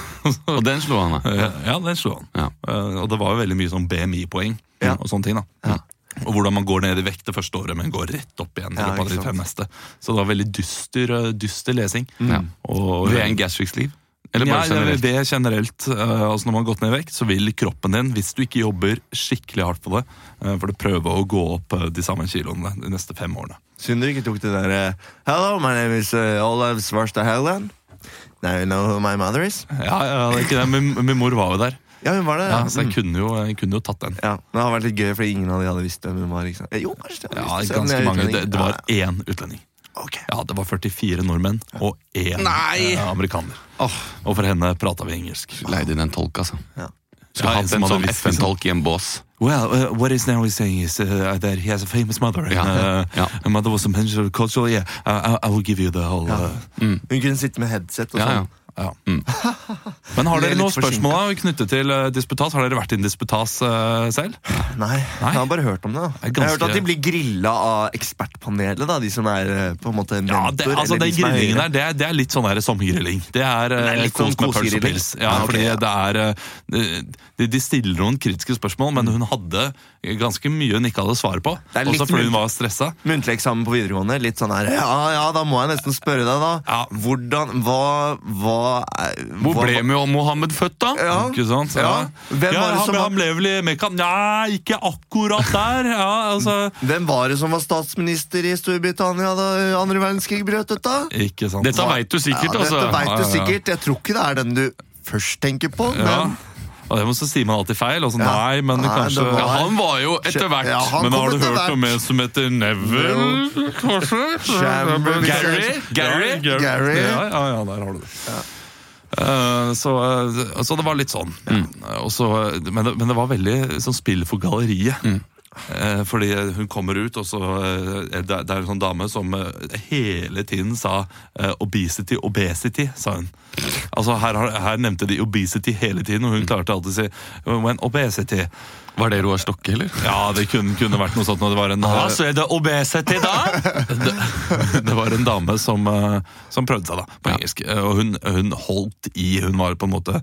Speaker 1: <laughs>
Speaker 3: Og den slo han, da.
Speaker 1: Eh, Ja, den slo han.
Speaker 3: Ja.
Speaker 1: Eh, Og det var jo veldig mye sånn BMI-poeng
Speaker 2: Ja.
Speaker 1: og sånne ting. da. Og hvordan man går ned i vekt det første året, men går rett opp igjen. i
Speaker 2: Ja,
Speaker 1: løpet av de
Speaker 2: ikke
Speaker 1: fem
Speaker 2: sant.
Speaker 1: neste. Så det var veldig dyster, eh, dyster lesing.
Speaker 3: Ja.
Speaker 1: Og,
Speaker 3: Ved en gastric sleeve? Eller
Speaker 1: ja,
Speaker 3: bare generelt?
Speaker 1: Det er generelt. Eh, altså Når man har gått ned i vekt, så vil kroppen din, hvis du ikke jobber skikkelig hardt på det, eh, for det prøve å gå opp eh, de samme kiloene de neste fem årene.
Speaker 2: Synd du ikke tok det der eh, Hello, my name is eh, Olav Svarstad Haugland. Now you know who my mother is?
Speaker 1: Ja, ja det er ikke det. Min, min mor var jo der,
Speaker 2: Ja, hun var det.
Speaker 1: ja, mm.
Speaker 2: Ja,
Speaker 1: så jeg kunne jo, jeg kunne jo tatt den.
Speaker 2: ja. Men Det har vært litt gøy, fordi ingen av de hadde visst hvem hun var. Ikke sant? Eh, Jo, kanskje de hadde
Speaker 1: Ja,
Speaker 2: visst selv om
Speaker 1: ganske
Speaker 2: jeg er
Speaker 1: mange. Det,
Speaker 2: utlending.
Speaker 1: det var én utlending.
Speaker 2: Ja, ok.
Speaker 1: Ja, Det var 44 nordmenn og én eh, amerikaner. Og for henne prata vi engelsk.
Speaker 3: Leide inn en tolk, altså.
Speaker 2: Ja.
Speaker 3: Skulle
Speaker 1: Ja, en
Speaker 3: hatt
Speaker 1: som
Speaker 3: en
Speaker 1: hadde
Speaker 3: sånn
Speaker 1: visst, liksom.
Speaker 3: FN-tolk i en bås.
Speaker 1: Well, uh, what is now is saying is uh, that he has a famous mother. And,
Speaker 3: Ja.
Speaker 1: uh,
Speaker 3: Ja.
Speaker 1: her mother was a pensioner cultural. Yeah, I, I, I will give you the whole uh,
Speaker 2: Hun kunne sitte med headset og
Speaker 3: Ja, ja.
Speaker 2: sånn.
Speaker 1: ja. <laughs> Men har
Speaker 2: Det er
Speaker 1: dere noen
Speaker 2: litt forsinket.
Speaker 1: spørsmål da, knyttet til uh, disputas? Har dere vært i en disputas uh, selv?
Speaker 2: Nei, jeg har bare hørt om det. da
Speaker 1: Det er ganske-
Speaker 2: Jeg har hørt at de blir grilla av ekspertpanelet, da, de som er eh, på en måte mentor.
Speaker 1: Ja, det, altså,
Speaker 2: eller
Speaker 1: den
Speaker 2: de som er
Speaker 1: grillingen
Speaker 2: høyere.
Speaker 1: der, det er, det er litt sånn her sommergrilling. Det er,
Speaker 2: det er
Speaker 1: eh,
Speaker 2: litt
Speaker 1: kos
Speaker 2: sånn
Speaker 1: med pølse og
Speaker 2: kosegrilling.
Speaker 1: pils. Ja,
Speaker 2: Ja, ok,
Speaker 1: fordi
Speaker 2: ja.
Speaker 1: det er eh, de, de stiller noen kritiske spørsmål, men hun hadde ganske mye hun ikke hadde svar på.
Speaker 2: Det er litt
Speaker 1: Også fordi
Speaker 2: mulig.
Speaker 1: hun var stressa.
Speaker 2: Muntlig eksamen på videregående. Litt sånn her Ja, ja, da må jeg nesten spørre deg, da.
Speaker 1: Ja.
Speaker 2: Hvordan Hva Hva, er-
Speaker 3: Hvor
Speaker 2: hva
Speaker 3: ble Mo- Mohammed født, da?
Speaker 2: Ja.
Speaker 1: Ikke sant? Ja.
Speaker 2: Ja. Hvem
Speaker 1: Ja,
Speaker 2: var det
Speaker 1: han,
Speaker 2: som
Speaker 1: ble-
Speaker 2: var-
Speaker 1: han ble vel i Mekka Nei, ikke akkurat der! Ja, altså
Speaker 2: Hvem var det som var statsminister i Storbritannia da andre verdenskrig brøt ut, da?
Speaker 1: Ikke sant.
Speaker 3: Dette veit du
Speaker 2: Ja,
Speaker 3: sikkert, altså.
Speaker 2: dette veit
Speaker 1: Ja,
Speaker 2: du
Speaker 1: ja, ja.
Speaker 2: sikkert. Jeg tror ikke det er den du først tenker på.
Speaker 1: ja.
Speaker 2: Men
Speaker 1: Og det- men så sier man alltid feil. Og så,
Speaker 2: Ja.
Speaker 1: nei, men
Speaker 2: Nei,
Speaker 1: kanskje
Speaker 2: det var-
Speaker 3: Ja, han var jo etter hvert
Speaker 2: Ja, han
Speaker 1: Men
Speaker 2: kom
Speaker 1: har du
Speaker 2: etter
Speaker 1: hørt
Speaker 2: hvert.
Speaker 1: om en som heter Neville? Kanskje?
Speaker 2: Chamber-
Speaker 3: Gary? Gary?
Speaker 1: Ja,
Speaker 2: Gary.
Speaker 1: Ja, ja, ja, der har du det. Eh, så, eh, så det var litt sånn. Eh, og så, eh, men, det, men det var veldig sånn spill for galleriet. Eh, fordi hun kommer ut, og så eh, det, er- det er en sånn dame som eh, hele tiden sa eh, 'obesity, obesity', sa hun. Altså her, har- her nevnte de obesity hele tiden, og hun klarte alltid å si 'when obesity'.
Speaker 3: Var det Roar Stokke, eller?
Speaker 1: Ja, det kunne, kunne vært noe sånt når det var en eh,
Speaker 3: er det obesity, da?
Speaker 1: <laughs> det var en dame som, eh, som prøvde seg da, på engelsk. Eh, Og hun, hun holdt i Hun var på en måte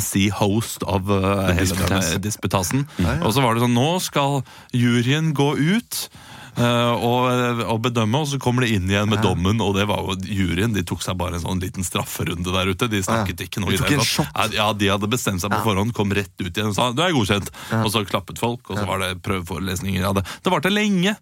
Speaker 1: MC-host av eh, hele
Speaker 3: Disputas.
Speaker 1: denne disputasen. Og så var det sånn Nå skal juryen gå ut. eh, og, og bedømme, og så kommer de inn igjen med dommen. Og det var jo juryen De tok seg bare en sånn liten strafferunde der ute. De snakket
Speaker 2: Ja.
Speaker 1: ikke noe
Speaker 2: De
Speaker 1: i
Speaker 2: tok
Speaker 1: det
Speaker 2: en
Speaker 1: hele tatt. Ja, De hadde bestemt seg på forhånd, kom rett ut igjen og sa 'du er godkjent'. Og så klappet folk, og så var det prøveforelesninger. Ja, det, det varte lenge.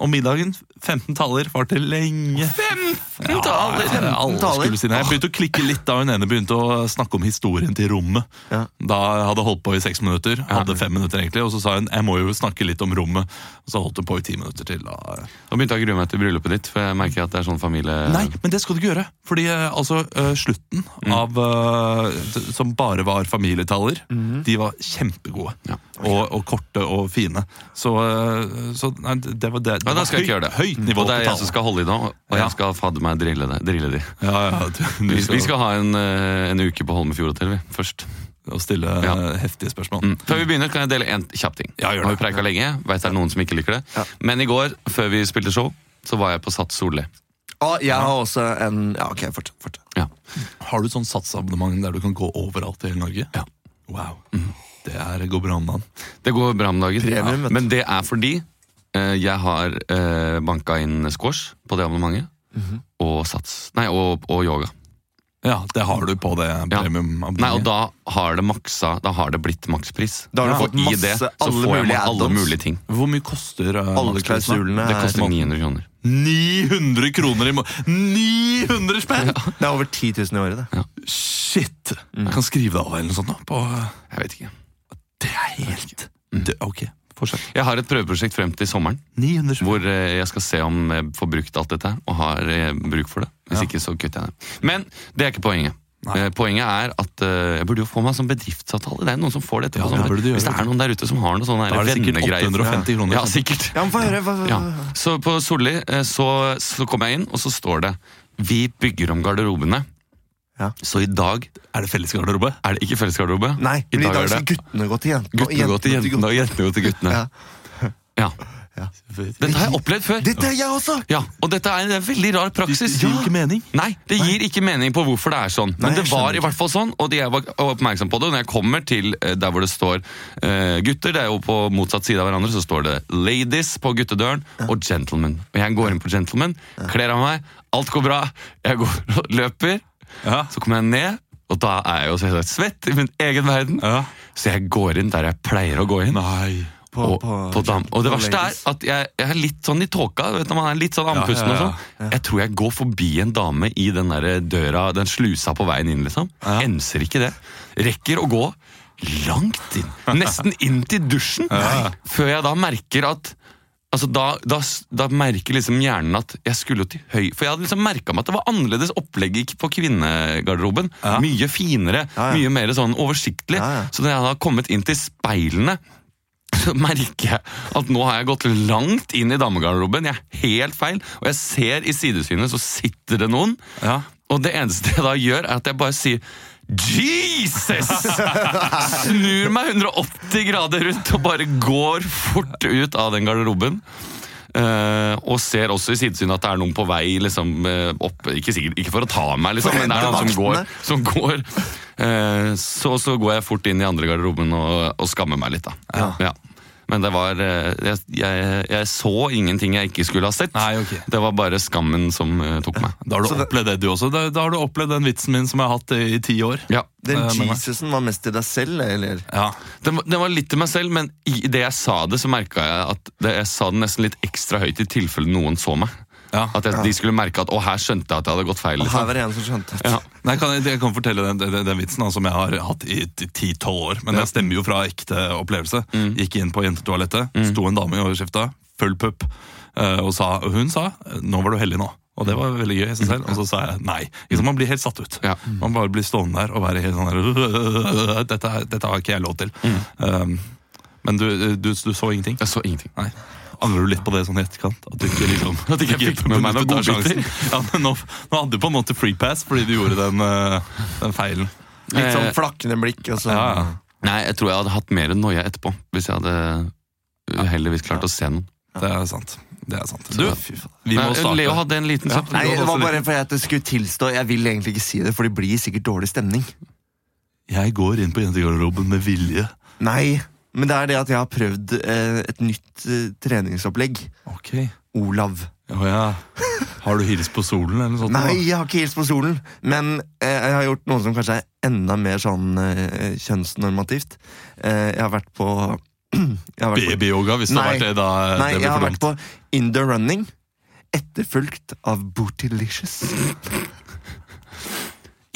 Speaker 1: Og middagen, 15 taler, varte lenge.
Speaker 3: 15
Speaker 1: Ja,
Speaker 3: taler!
Speaker 1: ja, alle
Speaker 2: taler.
Speaker 1: skulle si nei. Jeg begynte å klikke litt da hun ene begynte å snakke om historien til rommet.
Speaker 2: Ja.
Speaker 1: Da jeg hadde holdt på i seks minutter, hadde fem minutter egentlig, og så sa hun jeg må jo snakke litt om rommet. Og så holdt hun på i ti minutter til. Da. eh,
Speaker 3: Nå begynte jeg å grue meg til bryllupet ditt, for jeg merker at det er sånn familie...
Speaker 1: Nei, men det skal du ikke gjøre. Fordi eh, altså, eh, slutten av eh, t- Som bare var familietaller, de var kjempegode.
Speaker 3: Ja.
Speaker 1: Og, og korte og fine. Så, eh, så nei, det var det. Mm. det
Speaker 3: Ja, da
Speaker 1: var
Speaker 3: skal jeg ikke gjøre det.
Speaker 1: Høyt nivå
Speaker 3: Og
Speaker 1: på
Speaker 3: det er jeg som
Speaker 1: tallene.
Speaker 3: skal holde i nå, og
Speaker 1: Ja.
Speaker 3: jeg skal fadde meg drille, deg- drille de.
Speaker 1: Ja, ja, du, du
Speaker 3: Vi,
Speaker 1: skal,
Speaker 3: vi skal ha en, eh, en uke på Holmefjord Hotel, vi, først.
Speaker 1: og stille eh,
Speaker 3: Ja.
Speaker 1: heftige spørsmål.
Speaker 3: Før vi begynner, kan jeg dele en kjapp ting.
Speaker 1: Mm. Ja, gjør det.
Speaker 3: Nå har vi preika lenge, vet det er noen som ikke liker det. Men i går, før vi spilte show, så var jeg på Sats Solli.
Speaker 2: Å, jeg har også en Ja, ok, fortsett. fortsett.
Speaker 3: Ja.
Speaker 1: Har du sånn satsabonnement der du kan gå overalt i hele Norge?
Speaker 3: Ja.
Speaker 1: Wow. Mm. Det er går bra om dagen.
Speaker 3: Det går bra om dagen.
Speaker 2: Premium,
Speaker 3: ja.
Speaker 2: vet du.
Speaker 3: Men det er fordi eh, jeg har uh, banka inn squash på det abonnementet.
Speaker 2: Mhm.
Speaker 3: Og sats. Nei, og, og yoga.
Speaker 1: Ja, det har du på det
Speaker 3: Ja.
Speaker 1: premiumabonnementet.
Speaker 3: Nei, og da har det maksa Da har det blitt makspris.
Speaker 2: Mhm. Da har du
Speaker 3: Og
Speaker 2: fått
Speaker 3: i
Speaker 2: masse-
Speaker 3: det, så
Speaker 2: alle
Speaker 3: får jeg
Speaker 2: mulige
Speaker 3: med alle
Speaker 2: add-ons.
Speaker 3: mulige ting.
Speaker 1: Hvor mye koster eh,
Speaker 2: Alle
Speaker 1: maksprisen da?
Speaker 2: klausulene
Speaker 3: Det
Speaker 2: er
Speaker 3: koster 900 kroner.
Speaker 1: 900 kroner i måneden! 900 spenn!
Speaker 2: Det er over 10 000 i året, det.
Speaker 1: Shit!
Speaker 3: Mm.
Speaker 1: Jeg kan skrive deg av eller noe sånt. da på... eh,
Speaker 3: Jeg vet ikke.
Speaker 1: Det er helt
Speaker 3: Mm.
Speaker 1: det, Ok, fortsett.
Speaker 3: Jeg har et prøveprosjekt frem til sommeren
Speaker 1: 900 spenn.
Speaker 3: hvor eh, jeg skal se om jeg får brukt alt dette her, og har eh, bruk for det.
Speaker 1: Ja.
Speaker 3: Hvis ikke, så kutter jeg det. Men det er ikke poenget.
Speaker 1: Nei.
Speaker 3: Eh, Poenget er at eh, jeg burde jo få meg sånn bedriftsavtale. Det er noen som får dette.
Speaker 1: Ja,
Speaker 3: på
Speaker 1: det
Speaker 3: sommeren.
Speaker 1: burde du gjøre.
Speaker 3: Hvis det er noen der ute som har noe
Speaker 1: Da
Speaker 3: sånn her
Speaker 1: er det sikkert
Speaker 3: vennegreier.
Speaker 1: 850 kroner.
Speaker 3: Ja, sikkert.
Speaker 2: Ja, men få høre. Hva, hva,
Speaker 3: Ja. Så på Solli eh, så, så kom jeg inn, og så står det Vi bygger om garderobene.
Speaker 2: Ja.
Speaker 3: Så i dag
Speaker 1: Er det fellesgarderobe?
Speaker 3: er det ikke fellesgarderobe.
Speaker 2: Nei,
Speaker 3: I
Speaker 2: men i
Speaker 3: dag
Speaker 2: dag
Speaker 3: er
Speaker 2: skal
Speaker 3: det
Speaker 2: guttene gå til jentene. og
Speaker 3: guttene gå til
Speaker 2: til
Speaker 3: jentene og jentene gå til guttene.
Speaker 2: Ja.
Speaker 3: Ja.
Speaker 2: Ja.
Speaker 3: Dette har jeg opplevd før.
Speaker 2: Dette er jeg også!
Speaker 3: Ja, Og dette er en det er en veldig rar
Speaker 1: Det
Speaker 3: praksis.
Speaker 1: gir ikke mening.
Speaker 3: Nei, det gir ikke mening på hvorfor det er sånn. Men
Speaker 2: Nei, jeg
Speaker 3: det var
Speaker 2: skjønner
Speaker 3: i hvert fall sånn, og jeg var oppmerksom på det. Og når jeg kommer til eh, der hvor det står eh, gutter, det er jo på motsatt side av hverandre, så står det ladies på guttedøren og gentlemen. Og jeg går inn på gentlemen, kler av meg, alt går bra, jeg går <laughs> og løper.
Speaker 1: Ja.
Speaker 3: Så kommer jeg ned, og da er jeg jo så helt svett i min egen verden.
Speaker 1: Ja.
Speaker 3: Så jeg går inn der jeg pleier å gå inn.
Speaker 1: Nei.
Speaker 2: På-
Speaker 3: og,
Speaker 2: på-
Speaker 3: på dam. og det
Speaker 2: på
Speaker 3: verste er
Speaker 2: ladies.
Speaker 3: at jeg, jeg er litt sånn i tåka. Vet du, man er litt sånn andpusten
Speaker 1: Ja, ja, ja.
Speaker 3: og sånn. Jeg tror jeg går forbi en dame i den der døra, den slusa på veien inn, liksom.
Speaker 1: Ja.
Speaker 3: Enser ikke det. Rekker å gå langt inn. Nesten inn til dusjen.
Speaker 1: Ja.
Speaker 3: Før jeg da merker at Altså da, da, da merker liksom hjernen at jeg skulle jo til høy For jeg hadde liksom merka meg at det var annerledes opplegg i- på kvinnegarderoben.
Speaker 1: Ja.
Speaker 3: Mye finere,
Speaker 2: Ja, ja.
Speaker 3: mye mer sånn oversiktlig.
Speaker 2: Ja, ja.
Speaker 3: Så når jeg da har kommet inn til speilene så merker jeg at nå har jeg gått langt inn i damegarderoben. Jeg er helt feil, og jeg ser i sidesynet så sitter det noen.
Speaker 1: Ja.
Speaker 3: Og det eneste jeg da gjør, er at jeg bare sier Jesus! Snur meg 180 grader rundt og bare går fort ut av den garderoben. Eh, og ser også i sidesynet at det er noen på vei liksom, eh, opp Ikke, sikkert, ikke for å ta meg, liksom, men det er noen som går. Som går Eh, så, så går jeg fort inn i andre garderoben og, og skammer meg litt, da. Ja. Men det var eh, jeg, jeg, jeg så ingenting jeg ikke skulle ha sett.
Speaker 1: Nei, ok.
Speaker 3: Det var bare skammen som eh, tok meg.
Speaker 1: Da har du
Speaker 2: Så det-
Speaker 1: opplevd det, du også. Da, da har du opplevd den vitsen min som jeg har hatt i, i ti år.
Speaker 3: Ja.
Speaker 2: Den
Speaker 1: Eh, men-
Speaker 2: Jesusen var mest til deg selv, eller?
Speaker 1: Ja.
Speaker 3: Den, var- den var litt til meg selv, men i det jeg sa det, så merka jeg at det, jeg sa den nesten litt ekstra høyt i tilfelle noen så meg.
Speaker 1: Ja.
Speaker 3: At jeg, de skulle merke at 'å, her skjønte jeg at jeg hadde gått feil'.
Speaker 2: Og her
Speaker 3: Liksom.
Speaker 2: var det en som skjønte.
Speaker 3: Ja.
Speaker 1: Nei, kan jeg, jeg kan fortelle den, den, den vitsen da, som jeg har hatt i t- 10-12 år. Men den stemmer jo fra ekte opplevelse.
Speaker 3: Mm.
Speaker 1: Gikk inn på jentetoalettet, sto en dame i overskifta, full pupp, eh, og sa, og hun sa 'nå var du heldig nå'. Og det var veldig gøy i seg selv. Og så sa jeg nei. Ikke sant, man blir helt satt ut.
Speaker 3: Mm. Ja.
Speaker 1: Man bare blir stående der og være helt sånn der, <laughs> dette, er- dette har ikke jeg lov til.
Speaker 3: Mm.
Speaker 1: Um, men du, du, du så ingenting?
Speaker 3: Jeg så ingenting.
Speaker 1: Nei. Angrer du litt på det sånn i etterkant? At du ikke liksom
Speaker 3: At ikke jeg fikk med meg
Speaker 1: benyttet
Speaker 3: noen
Speaker 1: deg av
Speaker 3: godbiter?
Speaker 1: sjansen? Ja, men nå, nå hadde du på en måte free pass fordi du gjorde den, eh, den feilen.
Speaker 2: Litt sånn
Speaker 3: Eh,
Speaker 2: flakkende blikk. Og så.
Speaker 1: Ja, ja.
Speaker 3: Nei, jeg tror jeg hadde hatt mer noia etterpå, hvis jeg hadde eh, heldigvis klart å se noen.
Speaker 1: Det er sant. Det er sant.
Speaker 2: Så,
Speaker 1: Du,
Speaker 2: fy faen.
Speaker 1: vi må
Speaker 3: Nei,
Speaker 1: starte.
Speaker 3: eh, Leo hadde sånn en liten sak.
Speaker 2: Nei,
Speaker 1: du
Speaker 2: det
Speaker 1: hadde
Speaker 2: var
Speaker 1: også
Speaker 2: bare for at jeg skulle tilstå. Jeg vil egentlig ikke si det, for det blir sikkert dårlig stemning.
Speaker 1: Jeg går inn på jentegarderoben med vilje.
Speaker 2: Nei, men det er det at jeg har prøvd eh, et nytt eh, treningsopplegg.
Speaker 1: Ok.
Speaker 2: Olav.
Speaker 1: Å ja. Har du hilst på solen eller noe sånt?
Speaker 2: Nei, jeg har ikke hilst på solen, men eh, jeg har gjort noe som kanskje er enda mer sånn eh, kjønnsnormativt. Eh, jeg har vært på <clears throat> jeg har vært på-
Speaker 1: Babyyoga, hvis det har
Speaker 2: Nei.
Speaker 1: vært det, da eh,
Speaker 2: Nei,
Speaker 1: det
Speaker 2: jeg
Speaker 1: blir
Speaker 2: har
Speaker 1: for
Speaker 2: vært
Speaker 1: dumt.
Speaker 2: på Indoor Running, etterfulgt av Bootylicious.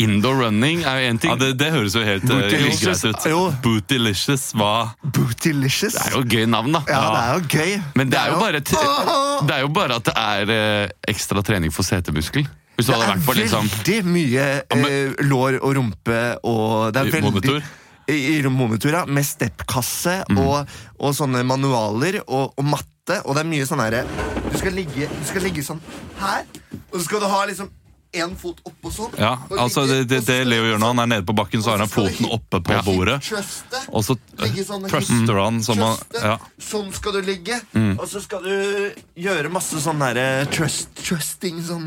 Speaker 3: Indoor running er jo én ting.
Speaker 1: Ja, det, det høres jo helt eh,
Speaker 2: Bootylicious.
Speaker 1: ugreit ut.
Speaker 2: Jo.
Speaker 1: Bootylicious hva?
Speaker 2: Bootylicious?
Speaker 3: Det er jo gøy navn, da.
Speaker 2: Ja, det er jo gøy.
Speaker 3: Men det er jo bare, t
Speaker 2: Åh!
Speaker 3: det er jo bare at det er eh, ekstra trening for setemuskel. Hvis du
Speaker 2: Det
Speaker 3: hadde
Speaker 2: er
Speaker 3: vært på liksom
Speaker 2: veldig mye eh, lår og rumpe og det er
Speaker 1: I
Speaker 2: veldig,
Speaker 1: monitor?
Speaker 2: I, i monitor, ja. Med steppkasse
Speaker 1: Mm.
Speaker 2: og, og sånne manualer og, og matte. Og det er mye sånn herre du, skal ligge- du skal ligge sånn her, og så skal du ha liksom én fot oppå sånn.
Speaker 1: Ja,
Speaker 2: og
Speaker 1: altså
Speaker 2: ligge-
Speaker 1: det, det, det
Speaker 2: og så skal
Speaker 1: Leo
Speaker 2: du-
Speaker 1: gjør nå, han er nede på bakken, så har han foten oppe på
Speaker 3: Ja.
Speaker 1: bordet.
Speaker 4: Trøste.
Speaker 1: Og så
Speaker 4: Ligge sånn,
Speaker 1: truster han som han
Speaker 4: Trøste.
Speaker 1: ja.
Speaker 2: Sånn skal du ligge.
Speaker 4: Mm.
Speaker 2: Og så skal du gjøre masse sånn derre trust, trusting sånn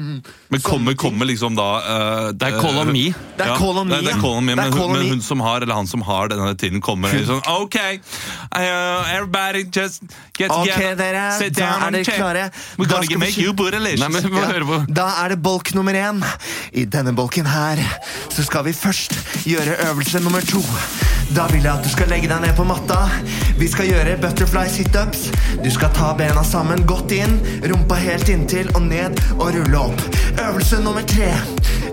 Speaker 1: Men kommer, kommer liksom da eh,
Speaker 3: Det er kolomi.
Speaker 2: Det er
Speaker 1: ja,
Speaker 2: call on me,
Speaker 1: det, det er
Speaker 2: ja.
Speaker 1: call on me,
Speaker 2: Det er
Speaker 1: men,
Speaker 2: call
Speaker 1: hun,
Speaker 2: on
Speaker 1: men
Speaker 2: me.
Speaker 1: hun som har, eller han som har denne tiden, kommer og sånn OK, uh, everybody just get
Speaker 2: Ok,
Speaker 1: together,
Speaker 2: dere.
Speaker 1: sit
Speaker 2: Da
Speaker 1: down
Speaker 2: er
Speaker 1: and
Speaker 2: dere
Speaker 1: check.
Speaker 2: klare.
Speaker 1: We're
Speaker 2: Da
Speaker 1: gonna
Speaker 2: skal vi
Speaker 1: make
Speaker 2: kjø-
Speaker 1: you
Speaker 3: Nei, men
Speaker 1: bootylicious.
Speaker 3: vi må høre på
Speaker 2: Da er det bolk nummer én. I denne bolken her så skal vi først gjøre øvelse nummer to. Da vil jeg at du skal legge deg ned på matta. Vi skal gjøre butterfly situps. Du skal ta bena sammen godt inn, rumpa helt inntil og ned og rulle opp. Øvelse nummer tre.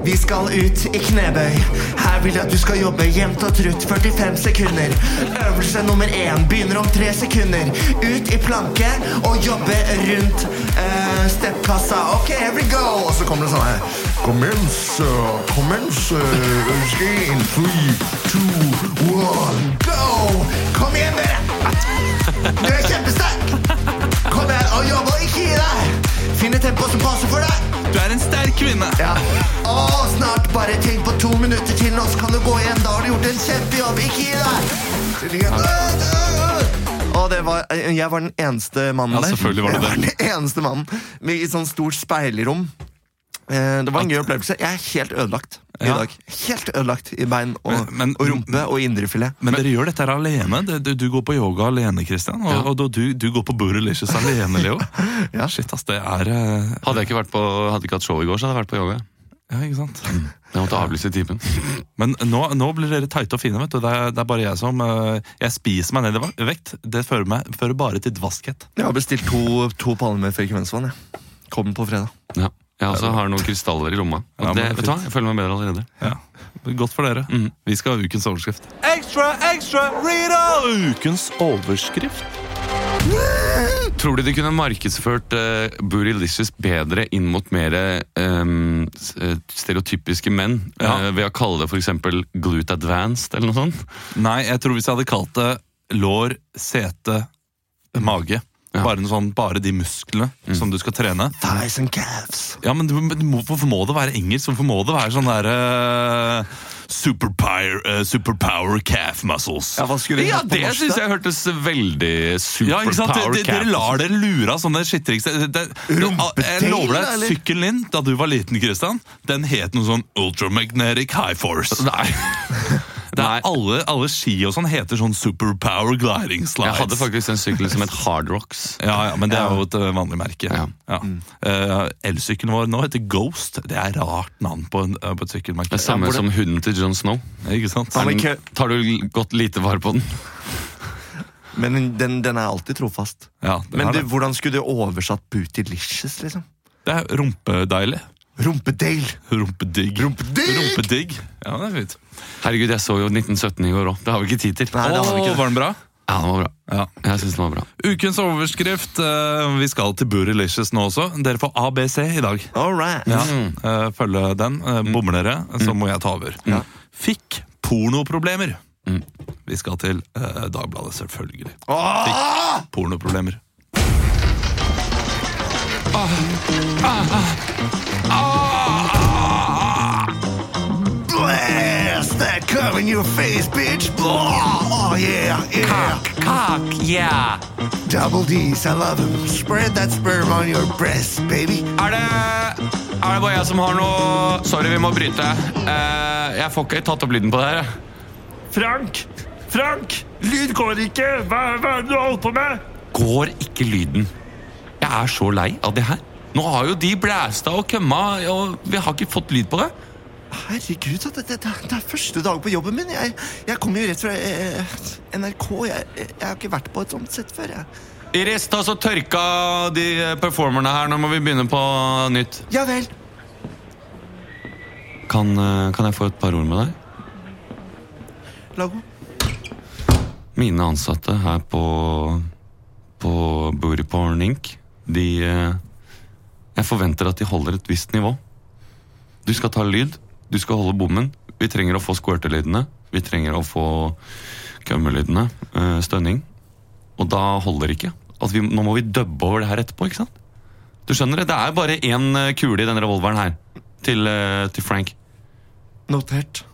Speaker 2: Vi skal ut i knebøy. Her vil jeg at du skal jobbe jevnt og trutt 45 sekunder. Øvelse nummer én begynner om tre sekunder. Ut i planke og jobbe rundt eh, steppkassa. Ok, here we go! Og så kommer det sånn her. Commence, commence. In three, two, one, go! Kom igjen, dere! Du er kjempesterk! Kom igjen og jobb og ikke gi deg! Finn et tempo som passer for deg.
Speaker 1: Du er en sterk kvinne.
Speaker 2: Ja. Og snart bare tenk på to minutter til nå, så kan du gå igjen. Da har du gjort en kjempejobb. Ikke gi deg! Så ligger jeg- Øh, øh, øh. Og det var, jeg var den eneste mannen
Speaker 1: Ja,
Speaker 2: der.
Speaker 1: selvfølgelig var du
Speaker 2: jeg var
Speaker 1: det.
Speaker 2: den eneste mannen med I et sånt stort speilrom. Eh, Det var en gøy opplevelse. Jeg er helt ødelagt i
Speaker 1: Ja.
Speaker 2: dag. Helt ødelagt i bein og,
Speaker 1: Men- men-
Speaker 2: og rumpe og indrefilet.
Speaker 1: Men, dere gjør dette her alene. Du, du, du går på yoga alene, Christian. Og,
Speaker 3: Ja.
Speaker 1: og du, du går på Bootylicious alene, Leo.
Speaker 2: <laughs> Ja.
Speaker 1: Shit, ass, det er eh,
Speaker 3: Hadde jeg ikke vært på, hadde ikke hatt show i går, så hadde jeg vært på yoga.
Speaker 1: Ja, ikke sant?
Speaker 3: Jeg måtte avlyse timen.
Speaker 1: Men nå, nå blir dere tighte og fine. vet du. Det er, det er bare jeg som eh, Jeg spiser meg ned i va- vekt. Det fører, meg, fører bare til dvaskhet.
Speaker 2: Jeg har bestilt to, to palmer med frekvensvann. Jeg. Kommer på fredag.
Speaker 3: Ja. Jeg også har noen krystaller i lomma. Og
Speaker 1: Ja, men
Speaker 3: det,
Speaker 1: fint.
Speaker 3: vet du hva? Jeg føler meg bedre allerede.
Speaker 1: Ja. Godt for dere.
Speaker 3: Mm.
Speaker 1: Vi skal ha ukens overskrift. Ekstra, ekstra, Rita! Ukens overskrift.
Speaker 3: Tror du de kunne markedsført uh, Bootylicious bedre inn mot mer ehm, s- eh, stereotypiske menn?
Speaker 1: Ja.
Speaker 3: eh, ved å kalle det f.eks. Glute Advanced eller noe sånt?
Speaker 1: Nei, jeg tror hvis jeg hadde kalt det lår, sete, mage.
Speaker 3: Ja.
Speaker 1: Bare, en sånn, bare de musklene som du skal trene.
Speaker 2: Thighs and calves.
Speaker 1: Ja, men du- men du må- Hvorfor må det være engelsk? Hvorfor må det være sånn derre superpower, eh, superpower calf muscles?
Speaker 2: Ja, hva skulle
Speaker 3: Ja,
Speaker 2: det på
Speaker 3: det
Speaker 2: norsk,
Speaker 3: syns
Speaker 2: da?
Speaker 3: jeg hørtes veldig
Speaker 1: Ja, ikke sant?
Speaker 3: superpower
Speaker 1: Dere, dere lar dere lure av sånne skittriks. Det- det- Jeg lover
Speaker 2: da,
Speaker 1: deg,
Speaker 2: eller?
Speaker 1: sykkelen din da du var liten, Christian, den het noe sånn Ultramagnetic High Force. Det <laughs>
Speaker 3: Nei. Nei.
Speaker 1: er alle, alle ski og sånn heter sånn Superpower Gliding Slides.
Speaker 3: Jeg hadde faktisk en sykkel som het Hard Rocks.
Speaker 1: ja, ja, men det er jo et eh, vanlig merke.
Speaker 3: Ja.
Speaker 1: Ja. Eh, Elsykkelen vår nå heter Ghost. Det er rart navn på, en, eh, på et sykkelmerke.
Speaker 3: Det er samme
Speaker 1: Ja, hvor
Speaker 3: som hunden til John Snow.
Speaker 1: det- Ikke sant?
Speaker 2: Ja, men
Speaker 3: Den-
Speaker 2: kø-
Speaker 3: Tar du l- godt lite vare på den?
Speaker 2: Men den, den er alltid trofast.
Speaker 1: Ja, den
Speaker 2: Men
Speaker 1: er
Speaker 2: du,
Speaker 1: det.
Speaker 2: hvordan skulle du oversatt Bootylicious, liksom?
Speaker 1: det er rumpedeilig.
Speaker 2: Rumpedale!
Speaker 1: Rumpedigg.
Speaker 2: Rumpedigg!
Speaker 1: Rumpedigg. Ja, det er fint.
Speaker 3: Herregud, jeg så jo 1917 i går òg. Det har vi ikke tid til.
Speaker 2: Nei, det har vi
Speaker 1: Å,
Speaker 2: ikke.
Speaker 1: var den bra?
Speaker 3: Ja, den var bra.
Speaker 1: Ja.
Speaker 3: Jeg synes den var bra.
Speaker 1: Ukens overskrift. eh, vi skal til Bootylicious nå også. Dere får ABC i dag.
Speaker 2: All right.
Speaker 1: Ja. eh, følge den. Eh, Bommer dere, så må jeg ta over. Fikk pornoproblemer. Vi skal til eh, Dagbladet, selvfølgelig.
Speaker 2: Åh!
Speaker 1: Pornoproblemer.
Speaker 2: Blast that cum in your face, bitch! Oh, yeah, yeah.
Speaker 3: Kak, yeah!
Speaker 2: Double D's, I love them. Spread that sperm on your breast, baby.
Speaker 3: Er det, er det bare jeg som har noe Sorry, vi må bryte. Eh, jeg får ikke tatt opp lyden på det her. jeg.
Speaker 4: Frank! Frank! Lyd går ikke! Hva, hva er det du holder på med?
Speaker 3: Går ikke lyden. Jeg er så lei av det her. Nå har jo de blæsta og kømma, og vi har ikke fått lyd på det.
Speaker 2: Herregud, det, det, det, er- det er første dag på jobben min. Jeg, jeg kommer jo rett fra eh, NRK. Jeg, jeg har ikke vært på et sånt sett før. Jeg.
Speaker 3: Iris, ta så tørka de eh, performerne her. Nå må vi begynne på nytt.
Speaker 2: Ja vel.
Speaker 3: Kan, eh, kan jeg få et par ord med deg?
Speaker 2: Lago.
Speaker 3: Mine ansatte her på På Booty Porn Inc. De eh, Jeg forventer at de holder et visst nivå. Du skal ta lyd. Du skal holde bommen. Vi trenger å få squirtelydene. Vi trenger å få kømmelydene. eh, Stønning. Og da holder det ikke. At vi, nå må vi dubbe over det her etterpå, ikke sant? Du skjønner det? Det er bare én eh, kule i den revolveren her. Til, eh, til Frank.
Speaker 2: Notert.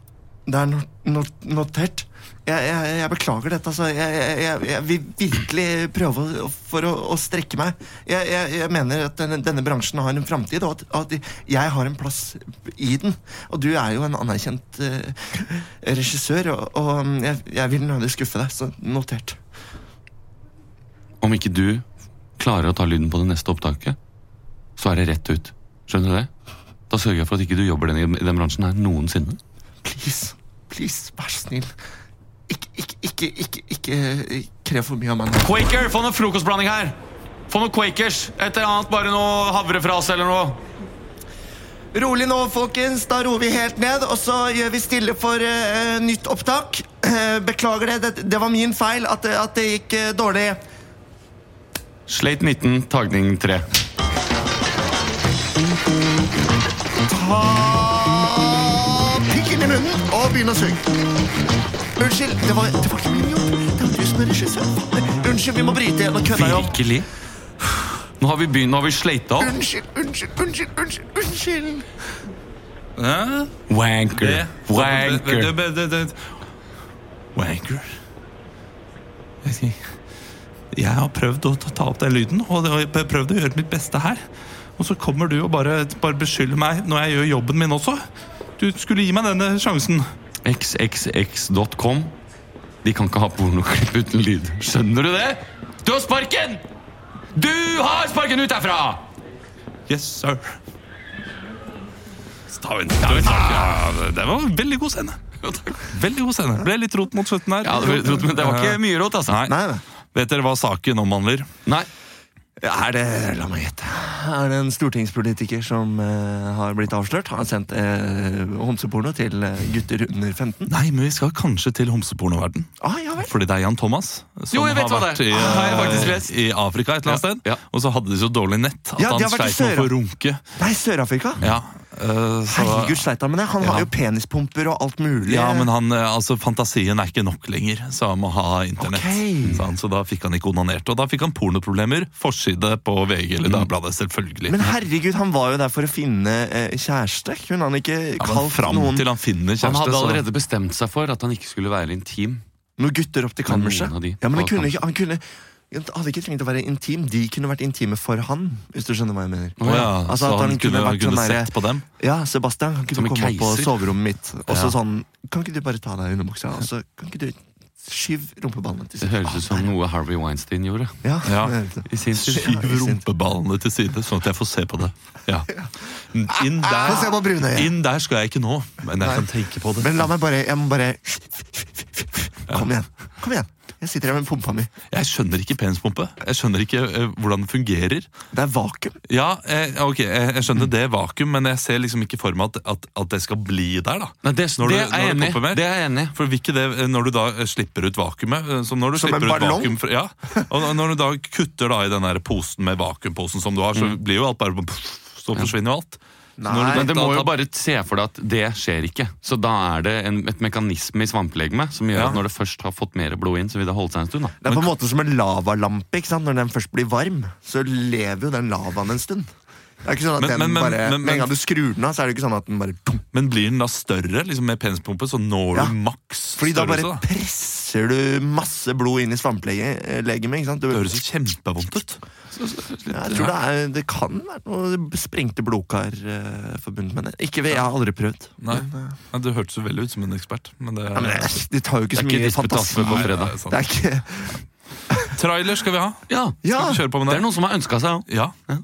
Speaker 2: Det er no, no, notert. Jeg, jeg, jeg beklager dette, altså. Jeg, jeg, jeg- jeg vil virkelig prøve å- for å, å strekke meg. Jeg, jeg, jeg mener at denne, denne bransjen har en framtid, og at, at jeg har en plass i den. Og du er jo en anerkjent eh, regissør, og, og mm, jeg, jeg vil nødig skuffe deg, så notert.
Speaker 3: Om ikke du klarer å ta lyden på det neste opptaket, så er det rett ut. Skjønner du det? Da sørger jeg for at ikke du jobber den, i den bransjen her noensinne.
Speaker 2: Please, please, vær så snill. Ikke, ikke, ikke, ikke, ikke eh, krev for mye av meg nå.
Speaker 3: Quaker, få noe frokostblanding her! Få noe Quakers. Et eller annet, bare noe havrefrase eller noe.
Speaker 2: Rolig nå, folkens. Da roer vi helt ned, og så gjør vi stille for eh, nytt opptak. Eh, beklager det. det, det var min feil at, det- at det gikk eh, dårlig.
Speaker 3: Slate 19, tagning 3.
Speaker 2: Pikken i munnen og begynn å synge. Unnskyld, det var, det var ikke min jobb. Det var du som er regissør. Unnskyld, vi må bryte igjen og kødde jobb.
Speaker 3: Virkelig? Nå har vi begynt, nå har vi slata opp.
Speaker 2: Unnskyld, unnskyld, unnskyld, unnskyld. unnskyld.
Speaker 1: Ja,
Speaker 3: Wanker.
Speaker 1: det.
Speaker 3: Wanker.
Speaker 1: Det- det- det- det- Wanker. Jeg skal- Jeg har prøvd å ta- ta opp den lyden, og det- og jeg har prøvd å gjøre mitt beste her. Og så kommer du og bare, bare beskylder meg når jeg gjør jobben min også. Du skulle gi meg denne sjansen.
Speaker 3: xxx.com. De kan ikke ha pornoklipp uten lyd. Skjønner du det? Du har sparken! Du har sparken ut derfra!
Speaker 1: Yes, sir. Stavn. Stavn. Ja, det- det var en veldig god scene. Veldig god scene. Ble litt rot mot slutten her.
Speaker 3: Ja, det, var- men det var ikke mye rått, altså.
Speaker 1: Nei. Vet dere hva saken omhandler?
Speaker 3: Nei.
Speaker 2: Er det
Speaker 5: Eh,
Speaker 2: La meg gjette. Er det en stortingspolitiker som eh, har blitt avslørt? Har sendt eh, homseporno til eh, gutter under 15?
Speaker 1: Nei, men vi skal kanskje til homsepornoverden.
Speaker 2: Ah, ja vel.
Speaker 1: Fordi det er Jan Thomas som
Speaker 3: Jo, jeg
Speaker 1: har
Speaker 3: vet hva
Speaker 1: vært
Speaker 3: det er.
Speaker 1: i,
Speaker 3: Ah, jeg har faktisk
Speaker 1: eh,
Speaker 3: lest.
Speaker 1: i Afrika et eller annet
Speaker 3: Ja,
Speaker 1: sted.
Speaker 3: ja.
Speaker 1: Og så hadde de så dårlig nett at
Speaker 2: Ja,
Speaker 1: han
Speaker 2: de har vært i
Speaker 1: sleit med å
Speaker 2: Sør-
Speaker 1: få runke.
Speaker 2: Nei, Sør-Afrika.
Speaker 1: Ja,
Speaker 3: Eh, så-
Speaker 5: Herregud, Sleithammen, han
Speaker 3: Ja.
Speaker 5: har jo penispumper og alt mulig.
Speaker 1: Ja, men han, eh, altså, fantasien er ikke nok lenger, så han må ha internett.
Speaker 5: Ok.
Speaker 1: sa han. Så da fikk han ikke onanert. Og da fikk han pornoproblemer. Forside på VG eller Dagbladet, selvfølgelig.
Speaker 5: Mm. Men herregud, han var jo der for å finne eh, kjæreste. Kunne han ikke
Speaker 1: ja, men
Speaker 5: kalt
Speaker 1: fram
Speaker 5: noen,
Speaker 1: til han finner kjæreste,
Speaker 3: han hadde
Speaker 1: så-
Speaker 3: allerede bestemt seg for at han ikke skulle være intim.
Speaker 5: noen gutter opp til
Speaker 3: Men
Speaker 5: kammerset?
Speaker 3: noen av de
Speaker 5: Ja, men han
Speaker 3: var
Speaker 5: kunne ikke, han kunne han hadde ikke trengt å være intim. De kunne vært intime for han. Hvis du skjønner hva jeg mener
Speaker 1: Å ja,
Speaker 5: Altså,
Speaker 1: så
Speaker 5: at
Speaker 1: han,
Speaker 5: han
Speaker 1: kunne,
Speaker 5: kunne vært
Speaker 1: kunne
Speaker 5: sånn derre-
Speaker 1: sett på dem?
Speaker 5: Ja, Sebastian, kan ikke
Speaker 3: Som
Speaker 5: du
Speaker 3: en
Speaker 5: komme opp på
Speaker 3: keiser.
Speaker 5: soverommet mitt? Og så
Speaker 1: Ja.
Speaker 5: sånn, Kan ikke du bare ta av deg underbuksa, og så kan ikke du skyve rumpeballene til
Speaker 3: Det høres ut som noe Harvey Weinstein gjorde.
Speaker 5: Ja,
Speaker 1: Ja.
Speaker 5: det høres ut.
Speaker 3: I sin tid.
Speaker 1: Skyv rumpeballene til side, sånn at jeg får se på det. Ja. Inn,
Speaker 5: Få se på
Speaker 1: der,
Speaker 5: brunøyet.
Speaker 1: inn der skal jeg ikke nå, men jeg kan tenke på det.
Speaker 5: Men la meg bare Jeg må bare Kom igjen. Kom igjen. Jeg sitter her med pumpa mi.
Speaker 1: Jeg skjønner ikke penispumpe. Jeg skjønner ikke eh, hvordan det fungerer.
Speaker 5: Det er vakuum.
Speaker 1: Ja, eh, ok, jeg, jeg
Speaker 5: Mm.
Speaker 1: skjønner det vakuum, men jeg ser liksom ikke for meg at, at, at det skal bli der, da.
Speaker 3: Nei, det,
Speaker 1: Når du-
Speaker 3: det, er
Speaker 1: når
Speaker 3: jeg
Speaker 1: du
Speaker 3: enig,
Speaker 1: popper mer?
Speaker 3: i. det er jeg enig i.
Speaker 1: For vil ikke det, eh, når du da eh, slipper ut vakuumet eh, Som, når du
Speaker 5: Som en
Speaker 1: slipper ut
Speaker 5: ballong?
Speaker 1: vakuum fra- ja, og når- når du da kutter da i den der posen med vakuumposen som du har,
Speaker 5: Mm.
Speaker 1: så blir jo alt bare Så forsvinner jo alt.
Speaker 5: Nei,
Speaker 1: Når du-
Speaker 3: Men det
Speaker 1: da-
Speaker 3: må
Speaker 1: da-
Speaker 3: jo bare se for deg at det skjer ikke. Så da er det en, et mekanisme i svampelegemet som gjør
Speaker 1: Ja.
Speaker 3: at når det først har fått mer blod inn, så vil det holde seg en stund. da.
Speaker 5: Det er på en måte som en lavalampe. ikke sant? Når den først blir varm, så lever jo den lavaen en stund. Det er ikke sånn at
Speaker 1: Men-
Speaker 5: den
Speaker 1: men- men-
Speaker 5: bare,
Speaker 1: men-
Speaker 5: Med en gang du skrur den av, så er det ikke sånn at den bare dum.
Speaker 1: Men blir den da større liksom med penispumpe, så når
Speaker 5: Ja.
Speaker 1: du maks
Speaker 5: Fordi da bare
Speaker 1: størrelse? da?
Speaker 5: presser du masse blod inn i svampelegemet. ikke sant? Du-
Speaker 1: Det høres jo kjempevondt ut.
Speaker 5: Ja, jeg tror det, er, det kan være noe sprengte blodkar eh, forbundet med det. Ikke ved, Jeg har aldri prøvd.
Speaker 1: Nei, Nei, Du hørtes jo veldig ut som en ekspert. Men det,
Speaker 5: eh. Ja, men det, det tar jo
Speaker 3: Det
Speaker 5: ikke
Speaker 3: er
Speaker 5: så
Speaker 3: ikke
Speaker 5: mye
Speaker 3: disputasme
Speaker 5: fantasi.
Speaker 3: på
Speaker 1: Nei, det
Speaker 3: fredag.
Speaker 1: er sant.
Speaker 5: Det er ikke
Speaker 1: Trailer skal vi ha.
Speaker 3: Ja,
Speaker 5: Ja!
Speaker 1: Skal vi kjøre på med
Speaker 3: Det
Speaker 1: det?
Speaker 3: er noen som har ønska seg òg.
Speaker 1: Ja.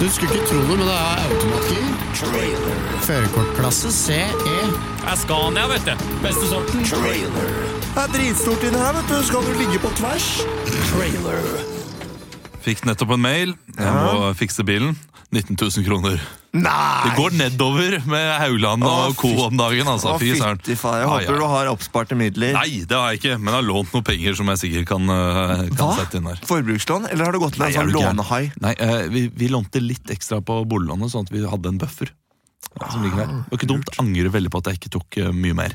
Speaker 6: Du skulle ikke tro det, men det er automatgir. E. Førerkortklasse CE.
Speaker 1: Askania, vet du. Beste sorten.
Speaker 5: Det er dritstort inni her, vet du. Skal du ligge på tvers?
Speaker 1: Fikk nettopp en mail. Jeg må fikse bilen. 19 000 kroner.
Speaker 5: Nei!
Speaker 1: Det går nedover med Haugland
Speaker 5: Å,
Speaker 1: og co.
Speaker 5: fytti-
Speaker 1: om dagen, altså.
Speaker 5: Å,
Speaker 1: Fy søren.
Speaker 5: fytti faen. Jeg
Speaker 1: Ja,
Speaker 5: håper
Speaker 1: ja.
Speaker 5: du har oppsparte midler.
Speaker 1: Nei, det har jeg ikke, men jeg har lånt noen penger som jeg sikkert kan, eh, kan sette inn her.
Speaker 5: Forbrukslån? Eller har du gått til
Speaker 1: Nei,
Speaker 5: en
Speaker 1: er
Speaker 5: sånn
Speaker 1: du gæren?
Speaker 5: lånehai?
Speaker 1: Nei, eh, vi, vi lånte litt ekstra på boliglånet, sånn at vi hadde en buffer. eh, Som ligger der. Det var ikke dumt. Angrer veldig på at jeg ikke tok eh, mye mer.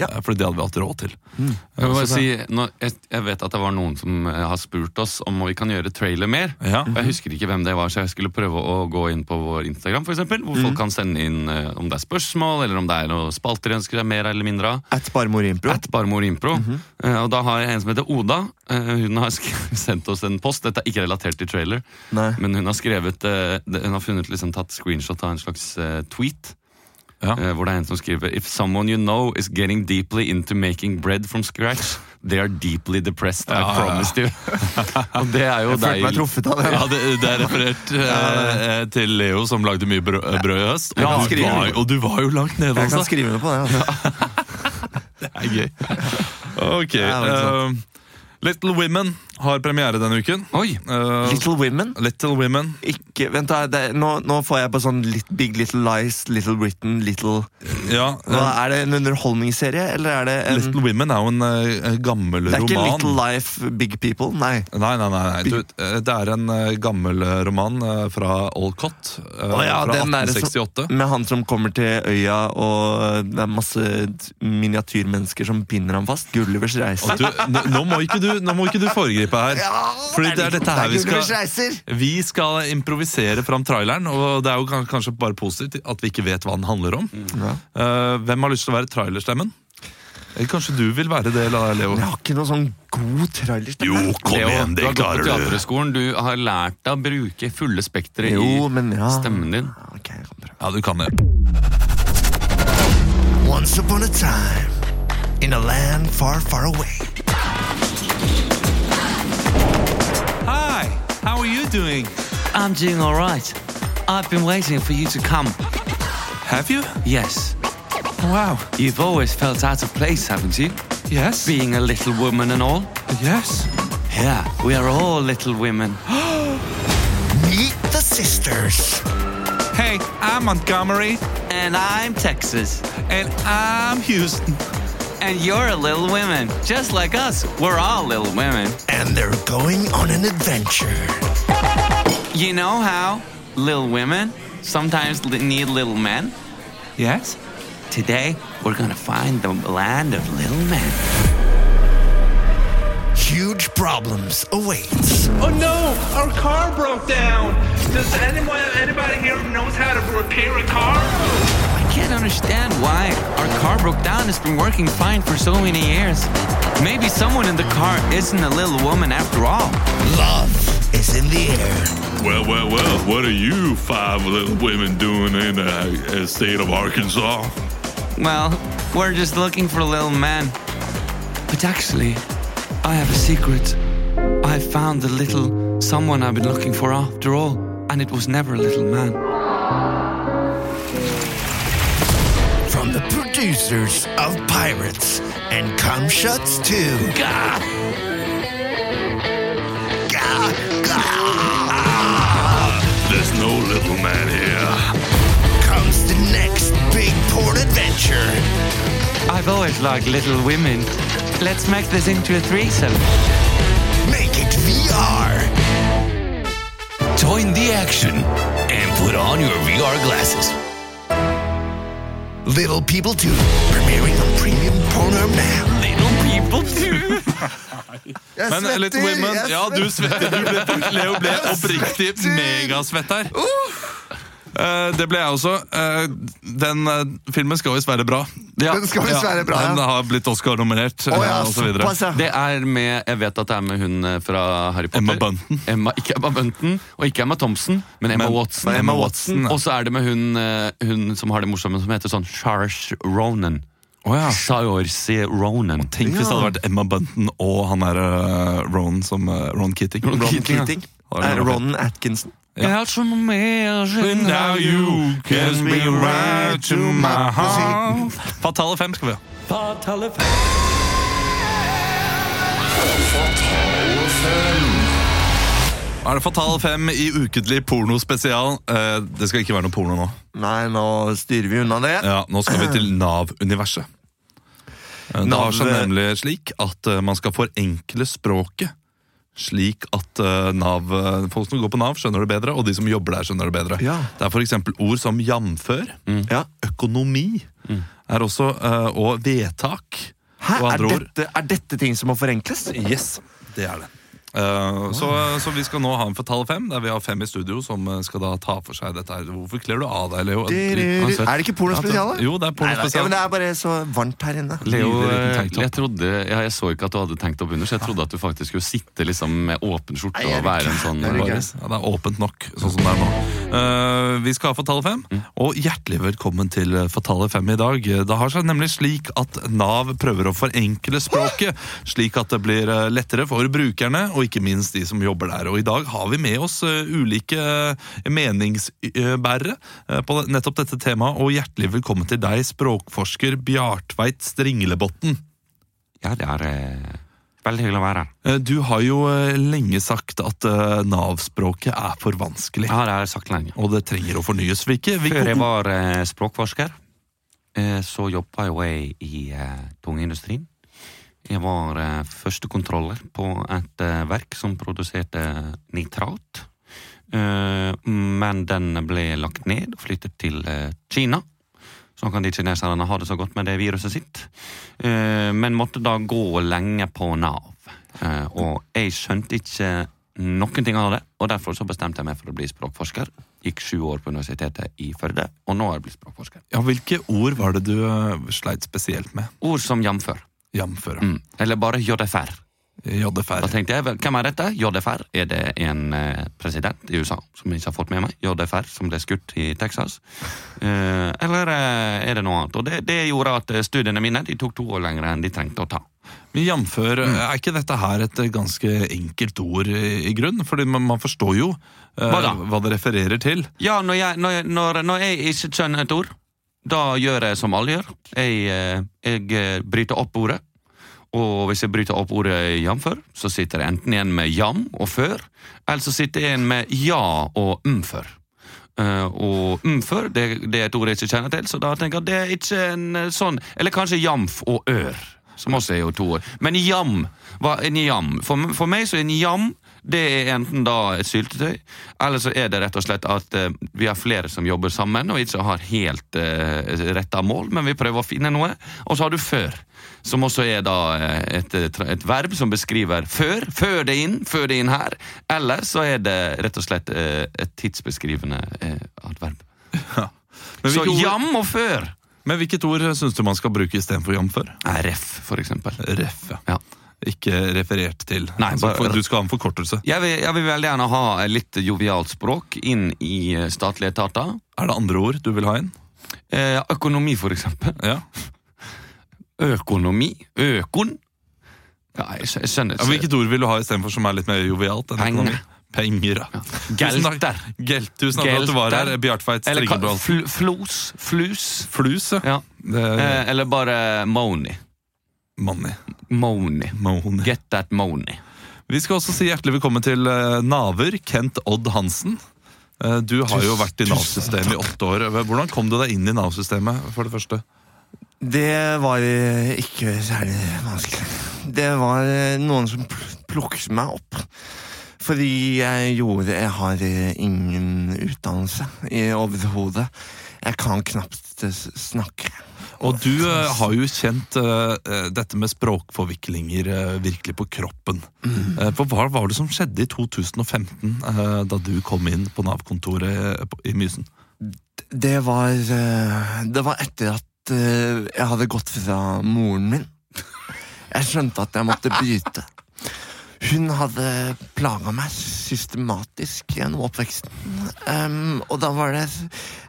Speaker 5: Ah, Ja.
Speaker 1: Eh, Fordi det hadde vi hatt råd til.
Speaker 3: Jeg, vil bare si, nå- jeg, jeg vet at det var noen som eh, har spurt oss om vi kan gjøre trailer mer.
Speaker 1: Ja.
Speaker 3: Og Jeg husker ikke hvem det var, så jeg skulle prøve å gå inn på vår Instagram, for eksempel, hvor
Speaker 1: Mhm.
Speaker 3: folk kan sende inn eh, om det er spørsmål, eller om det er noe spalter de ønsker seg mer eller mindre av.
Speaker 5: At Barmor Impro? Mhm.
Speaker 3: At Barmor Impro. Eh, Og da har jeg en som heter Oda. Eh, Hun har <laughs> sk- sendt oss en post. Dette er ikke relatert til trailer,
Speaker 5: Nei.
Speaker 3: men hun har skrevet eh, det- Hun har funnet liksom tatt screenshot av en slags eh, tweet.
Speaker 1: Ja.
Speaker 3: eh, Hvor det er en som skriver If someone you know is getting deeply into making bread from scratch, they are deeply depressed.
Speaker 1: ja,
Speaker 3: I
Speaker 1: ja.
Speaker 3: promise
Speaker 5: <laughs>
Speaker 3: you. Og det er jo
Speaker 5: Jeg følte meg
Speaker 3: deg.
Speaker 5: truffet av det.
Speaker 1: Ja, det, det er
Speaker 5: <laughs>
Speaker 1: referert eh, til Leo, som lagde mye brød, brød i høst. Og,
Speaker 5: Ja, han
Speaker 1: du
Speaker 5: skriver.
Speaker 1: var, og du var jo langt nede,
Speaker 5: Jeg kan
Speaker 1: altså.
Speaker 5: skrive under på det. Altså.
Speaker 1: Det er gøy. Ok.
Speaker 5: Ja, det er
Speaker 1: eh, Little Women har premiere denne uken.
Speaker 3: Oi!
Speaker 1: Eh,
Speaker 5: Little Women?
Speaker 1: Little Women.
Speaker 5: Ikke, vent da, det, nå, nå får jeg på sånn lit, Big Little Lies, Little Britain, Little
Speaker 1: Ja,
Speaker 5: Hva,
Speaker 1: eh,
Speaker 5: Er det en underholdningsserie, eller er det en
Speaker 1: Little Women er jo en eh, gammel
Speaker 5: Det er ikke
Speaker 1: roman.
Speaker 5: Little Life, Big People, nei.
Speaker 1: Nei, nei, nei. nei. Du, eh, det er en eh, gammel eh, roman eh, fra Olcott. eh,
Speaker 5: Å ja,
Speaker 1: fra
Speaker 5: den er det som-
Speaker 1: 1868.
Speaker 5: Med han som kommer til øya, og det er masse miniatyrmennesker som binder ham fast. Gullivers reiser.
Speaker 1: Og du, nå, nå, må ikke du, nå må ikke du foregripe her. Fordi det er dette her vi
Speaker 5: Gullivers
Speaker 1: skal
Speaker 5: reiser!
Speaker 1: Vi skal improvisere fram traileren, og det er jo kan- kanskje bare positivt at vi ikke vet hva den handler om.
Speaker 4: Mm.
Speaker 5: Ja.
Speaker 1: Eh, hvem har lyst til å være trailerstemmen? Eller kanskje du vil være det, La- Leo?
Speaker 5: Jeg har ikke noen sånn god trailerstemme.
Speaker 1: kom
Speaker 3: du har gått på teaterskolen. Du har lært deg å bruke fulle spekteret
Speaker 5: Jo,
Speaker 3: i
Speaker 5: men ja.
Speaker 3: stemmen din.
Speaker 5: Ok, jeg kan prøve.
Speaker 1: Ja, du kan det.
Speaker 5: Once upon a time in a land far, far away.
Speaker 1: Hi, how are you doing?
Speaker 7: I'm doing all right. I've been waiting for you to come.
Speaker 1: Have you?
Speaker 7: Yes.
Speaker 1: Wow.
Speaker 7: You've always felt out of place, haven't you?
Speaker 1: Yes.
Speaker 7: Being a little woman and all.
Speaker 1: Yes.
Speaker 7: Yeah, we are all little women.
Speaker 5: Meet the sisters.
Speaker 1: Hey, I'm Montgomery,
Speaker 7: And I'm Texas.
Speaker 1: and I'm Houston.
Speaker 7: And you're a little women. Just like us. We're all little women.
Speaker 5: And they're going on an adventure.
Speaker 7: You know how? Little women? sometimes li- need little men.
Speaker 1: Yes?
Speaker 7: Today, we're gonna find the land of little men.
Speaker 6: Huge problems awaits.
Speaker 4: Oh no, our car broke down. Does anyone, anybody here knows how to repair a car?
Speaker 7: I can't understand why our car broke down. It's been working fine for so many years. Maybe someone in the car isn't a little woman after all.
Speaker 6: Love is in the air.
Speaker 4: Well, well, well, what are you five little women doing in the uh, state of Arkansas?
Speaker 7: Well, we're just looking for little men. But actually, I have a secret. I found the little someone I've been looking for after all, and it was never a little man.
Speaker 6: From the producers of Pirates and Cum Shuts 2. Gah! Gah!
Speaker 4: There's no little man here.
Speaker 6: Comes the next big port adventure.
Speaker 7: I've always liked little women. Let's make this into a threesome.
Speaker 6: Make it VR. Join the action and put on your VR glasses. Little People 2, premiering on Premium Porno now.
Speaker 7: Little people too.
Speaker 2: Jeg
Speaker 1: Men Little Women,
Speaker 2: jeg
Speaker 1: ja, du svetter. Du ble, Leo ble oppriktig megasvett her. Eh, det ble jeg også. Eh, den eh, filmen skal visst være bra.
Speaker 3: Ja,
Speaker 2: Den skal visst være bra, ja.
Speaker 1: Den har blitt Oscar-nominert.
Speaker 2: Å ja,
Speaker 1: eh, og så videre.
Speaker 2: såpass, ja.
Speaker 3: Det er med, Jeg vet at det er med hun eh, fra Harry Potter.
Speaker 1: Emma Bunton.
Speaker 3: Emma, ikke Emma Bunton, og ikke Emma Thompson, men Emma
Speaker 1: Men-
Speaker 3: Watson.
Speaker 1: men Emma Watson, ja.
Speaker 3: Og så er det med hun, eh, hun som har det morsomme, som heter sånn Charles Ronan.
Speaker 1: Å ja.
Speaker 3: Saoirse Ronan.
Speaker 1: Tenk hvis det hadde vært Emma Bunton og han der eh, Ron som eh, Ron Keating.
Speaker 3: Ron
Speaker 2: Ron
Speaker 3: Keating, ja.
Speaker 2: Keating.
Speaker 1: Har du
Speaker 2: Eh,
Speaker 1: noe?
Speaker 2: Ron Atkinson.
Speaker 3: Else Mayer,
Speaker 1: Now you kiss me right to my heart. Fatale fem skal vi ha. Er det Fatale 5 i ukentlig pornospesial? Eh, det skal ikke være noe porno nå.
Speaker 2: Nei, nå styrer vi unna det.
Speaker 1: Ja, Nå skal vi til
Speaker 2: <clears throat>
Speaker 1: Nav-universet. Eh, Det har seg
Speaker 2: Nav-
Speaker 1: nemlig slik at eh, man skal forenkle språket. Slik at eh, Nav, eh, folk som går på Nav, skjønner det bedre, og de som jobber der, skjønner det bedre.
Speaker 2: Ja. Mm.
Speaker 1: Det er f.eks. ord som jamfør,
Speaker 2: Ja.
Speaker 1: økonomi, er også, eh, og vedtak.
Speaker 2: Mm. Hæ,
Speaker 1: og
Speaker 2: er
Speaker 1: andre ord.
Speaker 2: dette, er dette ting som må forenkles?
Speaker 1: Yes, det er det. Eh, så, så vi skal nå ha en Fatale fem, der vi har fem i studio som eh, skal da ta for seg dette her. Hvorfor kler du av deg, Leo?
Speaker 2: Er det ikke pornospesial? da?
Speaker 1: Jo, det er
Speaker 2: Nei, nei, ja,
Speaker 1: pornospesial.
Speaker 2: men det er bare så varmt her inne.
Speaker 3: Leo,
Speaker 1: Nydelig liten
Speaker 3: eh,
Speaker 1: tanktop.
Speaker 3: jeg, trodde, ja, jeg så ikke at du hadde tanktop under, så jeg trodde at du faktisk skulle sitte liksom med åpen skjorte
Speaker 2: Nei, er
Speaker 3: og
Speaker 2: du
Speaker 3: være en sånn
Speaker 2: Er du
Speaker 1: Bare-
Speaker 2: gæren?
Speaker 1: Ja, det er åpent nok, sånn som det er nå. Eh, vi skal ha Fatale 5, og hjertelig velkommen til eh, Fatale 5 i dag. Eh, Det har seg nemlig slik at Nav prøver å forenkle språket, slik at det blir eh, lettere for brukerne, og ikke minst de som jobber der. Og i dag har vi med oss eh, ulike eh, meningsbærere eh, på nettopp dette temaet, og hjertelig velkommen til deg, språkforsker Bjartveit Stringlebotten.
Speaker 3: Ja, det er eh, veldig hyggelig å være her.
Speaker 1: Eh, Du har jo eh, lenge sagt at eh, Nav-språket er for vanskelig.
Speaker 3: Jeg har jeg sagt lenge.
Speaker 1: Og det trenger å fornyes. Hvilke,
Speaker 3: Før
Speaker 1: hvilke
Speaker 3: jeg var eh, språkforsker, eh, så jobba jo jeg i eh, tungeindustrien. Jeg var eh, førstekontroller på et eh, verk som produserte nitrat. Eh, men den ble lagt ned og flyttet til eh, Kina. Sånn kan de kineserne ha det så godt med det viruset sitt. Eh, men måtte da gå lenge på Nav. Eh, og jeg skjønte ikke noen ting av det, og derfor så bestemte jeg meg for å bli språkforsker. Gikk sju år på Universitetet i Førde, og nå er jeg blitt språkforsker.
Speaker 1: ja, hvilke ord var det du eh, sleit spesielt med?
Speaker 3: Ord som jamfør.
Speaker 1: Jamføre.
Speaker 3: Mm. Eller bare JFR. Da
Speaker 1: JFR.
Speaker 3: tenkte jeg, vel, hvem er dette? JFR? Er det en eh, president i USA som jeg ikke har fått med meg? JFR, som ble skutt i Texas? Eh, eller eh, er det noe annet? Og det, det gjorde at eh, studiene mine de tok to år lenger enn de trengte å ta.
Speaker 1: Men jamfør,
Speaker 3: Mm.
Speaker 1: eh, er ikke dette her et eh, ganske enkelt ord i, i grunn? Fordi man, man forstår jo eh,
Speaker 3: Hva da?
Speaker 1: hva det refererer til.
Speaker 3: Ja, når jeg, når, jeg- når, når jeg ikke skjønner et ord, da gjør jeg som alle gjør. Jeg, eh, jeg eh, bryter opp ordet. Og hvis jeg bryter opp ordet jamfør, så sitter jeg enten igjen med jam og før, eller så sitter jeg igjen med ja og umfør. Eh, og umfør det, det er et ord jeg ikke kjenner til, så da tenker jeg at det er ikke en eh, sånn Eller kanskje jamf og ør, som også er jo to ord. Men jam, hva er en jam? For, for meg så er en jam Det er enten da et syltetøy, eller så er det rett og slett at eh, vi har flere som jobber sammen og ikke har helt eh, retta mål, men vi prøver å finne noe. Og så har du før, som også er da eh, et, eh, tra- et verb som beskriver før. Før det inn, før det inn her. Eller så er det rett og slett eh, et tidsbeskrivende eh, adverb.
Speaker 1: Men
Speaker 3: Så
Speaker 1: hvilke, ord,
Speaker 3: jam og før
Speaker 1: men hvilket ord syns du man skal bruke istedenfor jam før?
Speaker 3: er ref, for eksempel.
Speaker 1: Ref, ja.
Speaker 3: Ja.
Speaker 1: Ikke referert til.
Speaker 3: Nei,
Speaker 1: altså,
Speaker 3: bare-
Speaker 1: for, du skal ha en forkortelse.
Speaker 3: Jeg vil, jeg vil veldig gjerne ha et litt jovialt språk inn i eh, statlige etater.
Speaker 1: Er det andre ord du vil ha inn?
Speaker 3: Eh, økonomi, for eksempel.
Speaker 1: Ja.
Speaker 3: Økonomi. Økon. Ja, jeg skj- jeg skjønner
Speaker 1: Ja,
Speaker 3: ikke.
Speaker 1: hvilket ord vil du ha istedenfor som er litt mer jovialt? enn
Speaker 3: Penger.
Speaker 1: økonomi? Penger, ja. Tusen takk.
Speaker 3: Gelter.
Speaker 1: Gelt, tusen takk for at du var her.
Speaker 3: Gelter.
Speaker 1: Bjartveit
Speaker 3: Eller ka-
Speaker 1: Stringebral.
Speaker 3: fl flos. Flus.
Speaker 1: Flus, ja.
Speaker 3: Ja.
Speaker 1: Det er
Speaker 3: Eh, eller bare money.
Speaker 1: money.
Speaker 3: Money.
Speaker 1: Money.
Speaker 3: Get that money.
Speaker 1: Vi skal også si hjertelig velkommen til eh, Naver, Kent Odd Hansen. Eh, Du har jo vært i Nav-systemet i åtte år. Eh, Hvordan kom du deg inn i Nav-systemet? for det første?
Speaker 2: Det var eh, ikke særlig vanskelig. Det var eh, noen som pl- plukket meg opp. Fordi jeg gjorde Jeg har eh, ingen utdannelse i- overhodet. Jeg kan knapt eh, s- snakke.
Speaker 1: Og du eh, har jo kjent eh, eh, dette med språkforviklinger eh, virkelig på kroppen. Eh, For hva var det som skjedde i 2015, eh, da du kom inn på Nav-kontoret eh, på- i Mysen?
Speaker 2: Det var eh, Det var etter at eh, jeg hadde gått fra moren min. Jeg skjønte at jeg måtte bryte. Hun hadde plaga meg systematisk gjennom oppveksten. Em, og da var det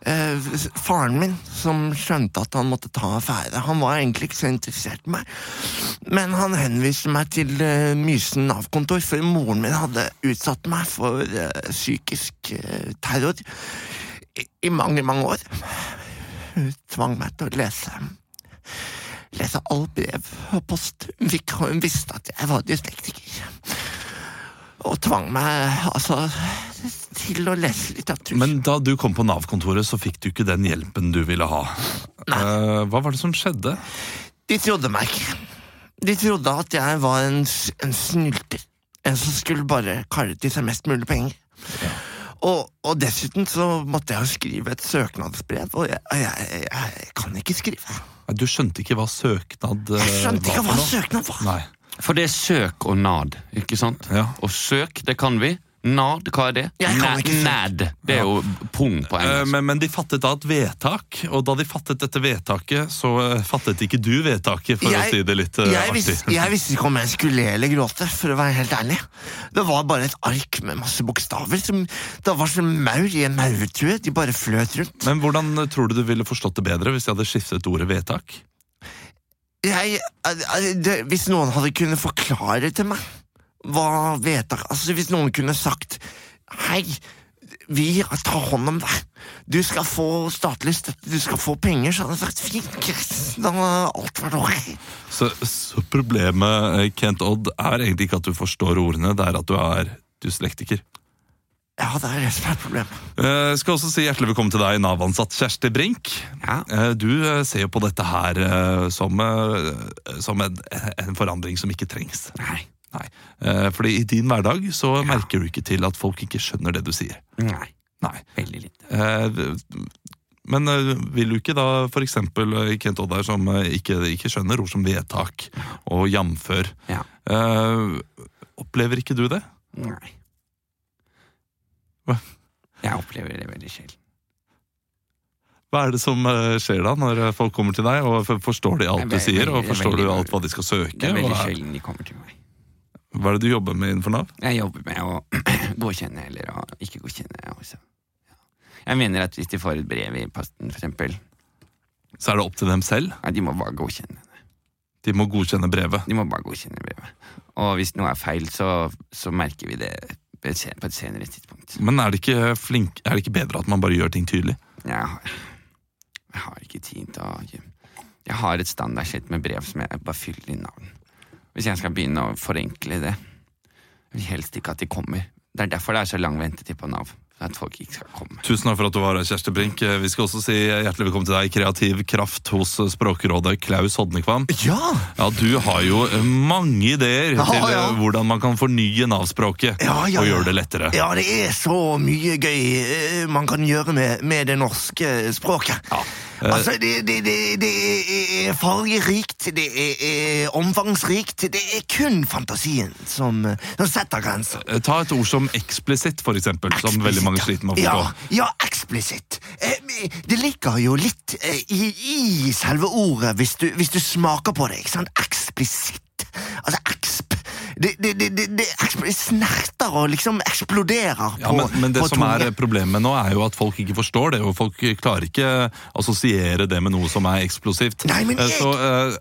Speaker 2: eh, faren min som skjønte at han måtte ta affære. Han var egentlig ikke så interessert i meg, men han henviste meg til eh, Mysen Nav-kontor, for moren min hadde utsatt meg for eh, psykisk eh, terror i- i mange, mange år. Hun tvang meg til å lese Lese all brev og post. Hun, fikk, hun visste at jeg var dyslektiker. Og tvang meg altså til å lese litteratur.
Speaker 1: Men da du kom på Nav-kontoret, så fikk du ikke den hjelpen du ville ha. Eh, Hva var det som skjedde?
Speaker 2: De trodde meg ikke. De trodde at jeg var en, s- en snylter. En som skulle bare karre til seg mest mulig penger. Og, og dessuten så måtte jeg jo skrive et søknadsbrev, og jeg, jeg, jeg kan ikke skrive.
Speaker 1: Nei, Du skjønte ikke hva søknad eh,
Speaker 2: Jeg skjønte ikke
Speaker 1: var
Speaker 2: hva
Speaker 1: for noe.
Speaker 2: søknad var.
Speaker 1: Nei.
Speaker 3: For det er søk og nad, ikke sant?
Speaker 1: Ja.
Speaker 3: Og søk, det kan vi. Nad, hva er det?
Speaker 2: Jeg kan ikke søk.
Speaker 3: nad. Det er jo pung på
Speaker 1: Eh,
Speaker 3: engelsk.
Speaker 1: Men, men de fattet da et vedtak, og da de fattet dette vedtaket, så eh, fattet ikke du vedtaket, for å si det litt eh,
Speaker 2: jeg,
Speaker 1: artig.
Speaker 2: visste, jeg visste ikke om jeg skulle le eller gråte, for å være helt ærlig. Det var bare et ark med masse bokstaver. Som, det var som maur i en maurtue. De bare fløt rundt.
Speaker 1: Men hvordan eh, tror du du ville forstått det bedre hvis jeg hadde skiftet ordet vedtak?
Speaker 2: Jeg, al- al- det, hvis noen hadde kunnet forklare til meg hva vedtak Altså, hvis noen kunne sagt Hei, vi tar hånd om deg. Du skal få statlig støtte, du skal få penger. Så hadde jeg sagt fint, greit. Da hadde alt vært ok.
Speaker 1: Så, så problemet, eh, Kent Odd, er egentlig ikke at du forstår ordene, det er at du er dyslektiker.
Speaker 2: Ja, det er det som er problemet.
Speaker 1: Jeg Eh, skal også si hjertelig velkommen til deg, Nav-ansatt Kjersti Brink.
Speaker 3: Ja.
Speaker 1: Eh, Du eh, ser jo på dette her eh, som, eh, som en, en forandring som ikke trengs.
Speaker 3: Nei.
Speaker 1: Nei. Eh, Fordi i din hverdag så merker du ikke til at folk ikke skjønner det du sier.
Speaker 3: Nei.
Speaker 1: Nei.
Speaker 3: Veldig lite.
Speaker 1: Eh, v- Men eh, vil du ikke da for eksempel eh, Kent Oddar som eh, ikke, ikke skjønner ord som vedtak og jamfør,
Speaker 3: Ja.
Speaker 1: eh, opplever ikke du det?
Speaker 3: Nei.
Speaker 1: Hva?
Speaker 3: Jeg opplever det veldig sjelden.
Speaker 1: Hva er det som eh, skjer da når eh, folk kommer til deg og f- forstår de alt
Speaker 3: Det
Speaker 1: du
Speaker 3: er
Speaker 1: sier, og
Speaker 3: veldig-
Speaker 1: forstår
Speaker 3: veldig-
Speaker 1: du alt hva de skal
Speaker 3: Det
Speaker 1: søke?
Speaker 3: er
Speaker 1: og
Speaker 3: veldig
Speaker 1: er-
Speaker 3: sjelden de kommer til meg.
Speaker 1: Hva er det du jobber med innenfor Nav?
Speaker 3: Jeg jobber med å <clears throat> godkjenne eller å ikke godkjenne også. Ja. Jeg mener at hvis de får et brev i posten, for eksempel,
Speaker 1: Så er det opp til dem selv.
Speaker 3: ja, de må bare godkjenne det.
Speaker 1: De må godkjenne brevet.
Speaker 3: De må bare godkjenne brevet. Og hvis noe er feil, så, så merker vi det på et sen- på et senere tidspunkt.
Speaker 1: Men er det ikke, flink, er det ikke bedre at man bare gjør ting tydelig?
Speaker 3: Jeg har, jeg har ikke tid til å Jeg har et standardskjett med brev som jeg bare fyller inn navn. Hvis jeg skal begynne å forenkle det Jeg vil helst ikke at de kommer. Det er derfor det er så lang ventetid på Nav.
Speaker 8: at folk ikke skal komme.
Speaker 1: Tusen takk for at du var her, Kjersti Brink. Eh, Vi skal også si hjertelig velkommen til deg, kreativ kraft hos eh, Språkrådet, Klaus Hodnekvam.
Speaker 2: Ja!
Speaker 1: Ja, Du har jo eh, mange ideer
Speaker 2: Ja,
Speaker 1: til
Speaker 2: ja.
Speaker 1: eh, hvordan man kan fornye Nav-språket
Speaker 2: Ja, ja,
Speaker 1: og
Speaker 2: ja.
Speaker 1: gjøre det lettere.
Speaker 2: Ja, det er så mye gøy eh, man kan gjøre med, med det norske eh, språket.
Speaker 1: eh.
Speaker 2: Altså, det, det, det, det er fargerikt, det er, er omfangsrikt, det er kun fantasien som, eh, som setter grenser.
Speaker 1: Eh, Ta et ord som eksplisitt, for eksempel, som veldig mange
Speaker 2: Eksplisitt,
Speaker 1: sliter med å
Speaker 2: ja.
Speaker 1: forstå.
Speaker 2: Ja, ja eksplisitt. Eh, men Det ligger jo litt eh, i, i selve ordet, hvis du, hvis du smaker på det. ikke sant? Eksplisitt. Altså eksp Det, det, det, det, det eksp- det snerter og liksom eksploderer
Speaker 1: Ja,
Speaker 2: på,
Speaker 1: men, men det
Speaker 2: på
Speaker 1: som er
Speaker 2: tunge.
Speaker 1: problemet nå, er jo at folk ikke forstår det. Og folk klarer ikke assosiere det med noe som er eksplosivt.
Speaker 2: Nei, men
Speaker 1: Eh,
Speaker 2: jeg-
Speaker 1: så,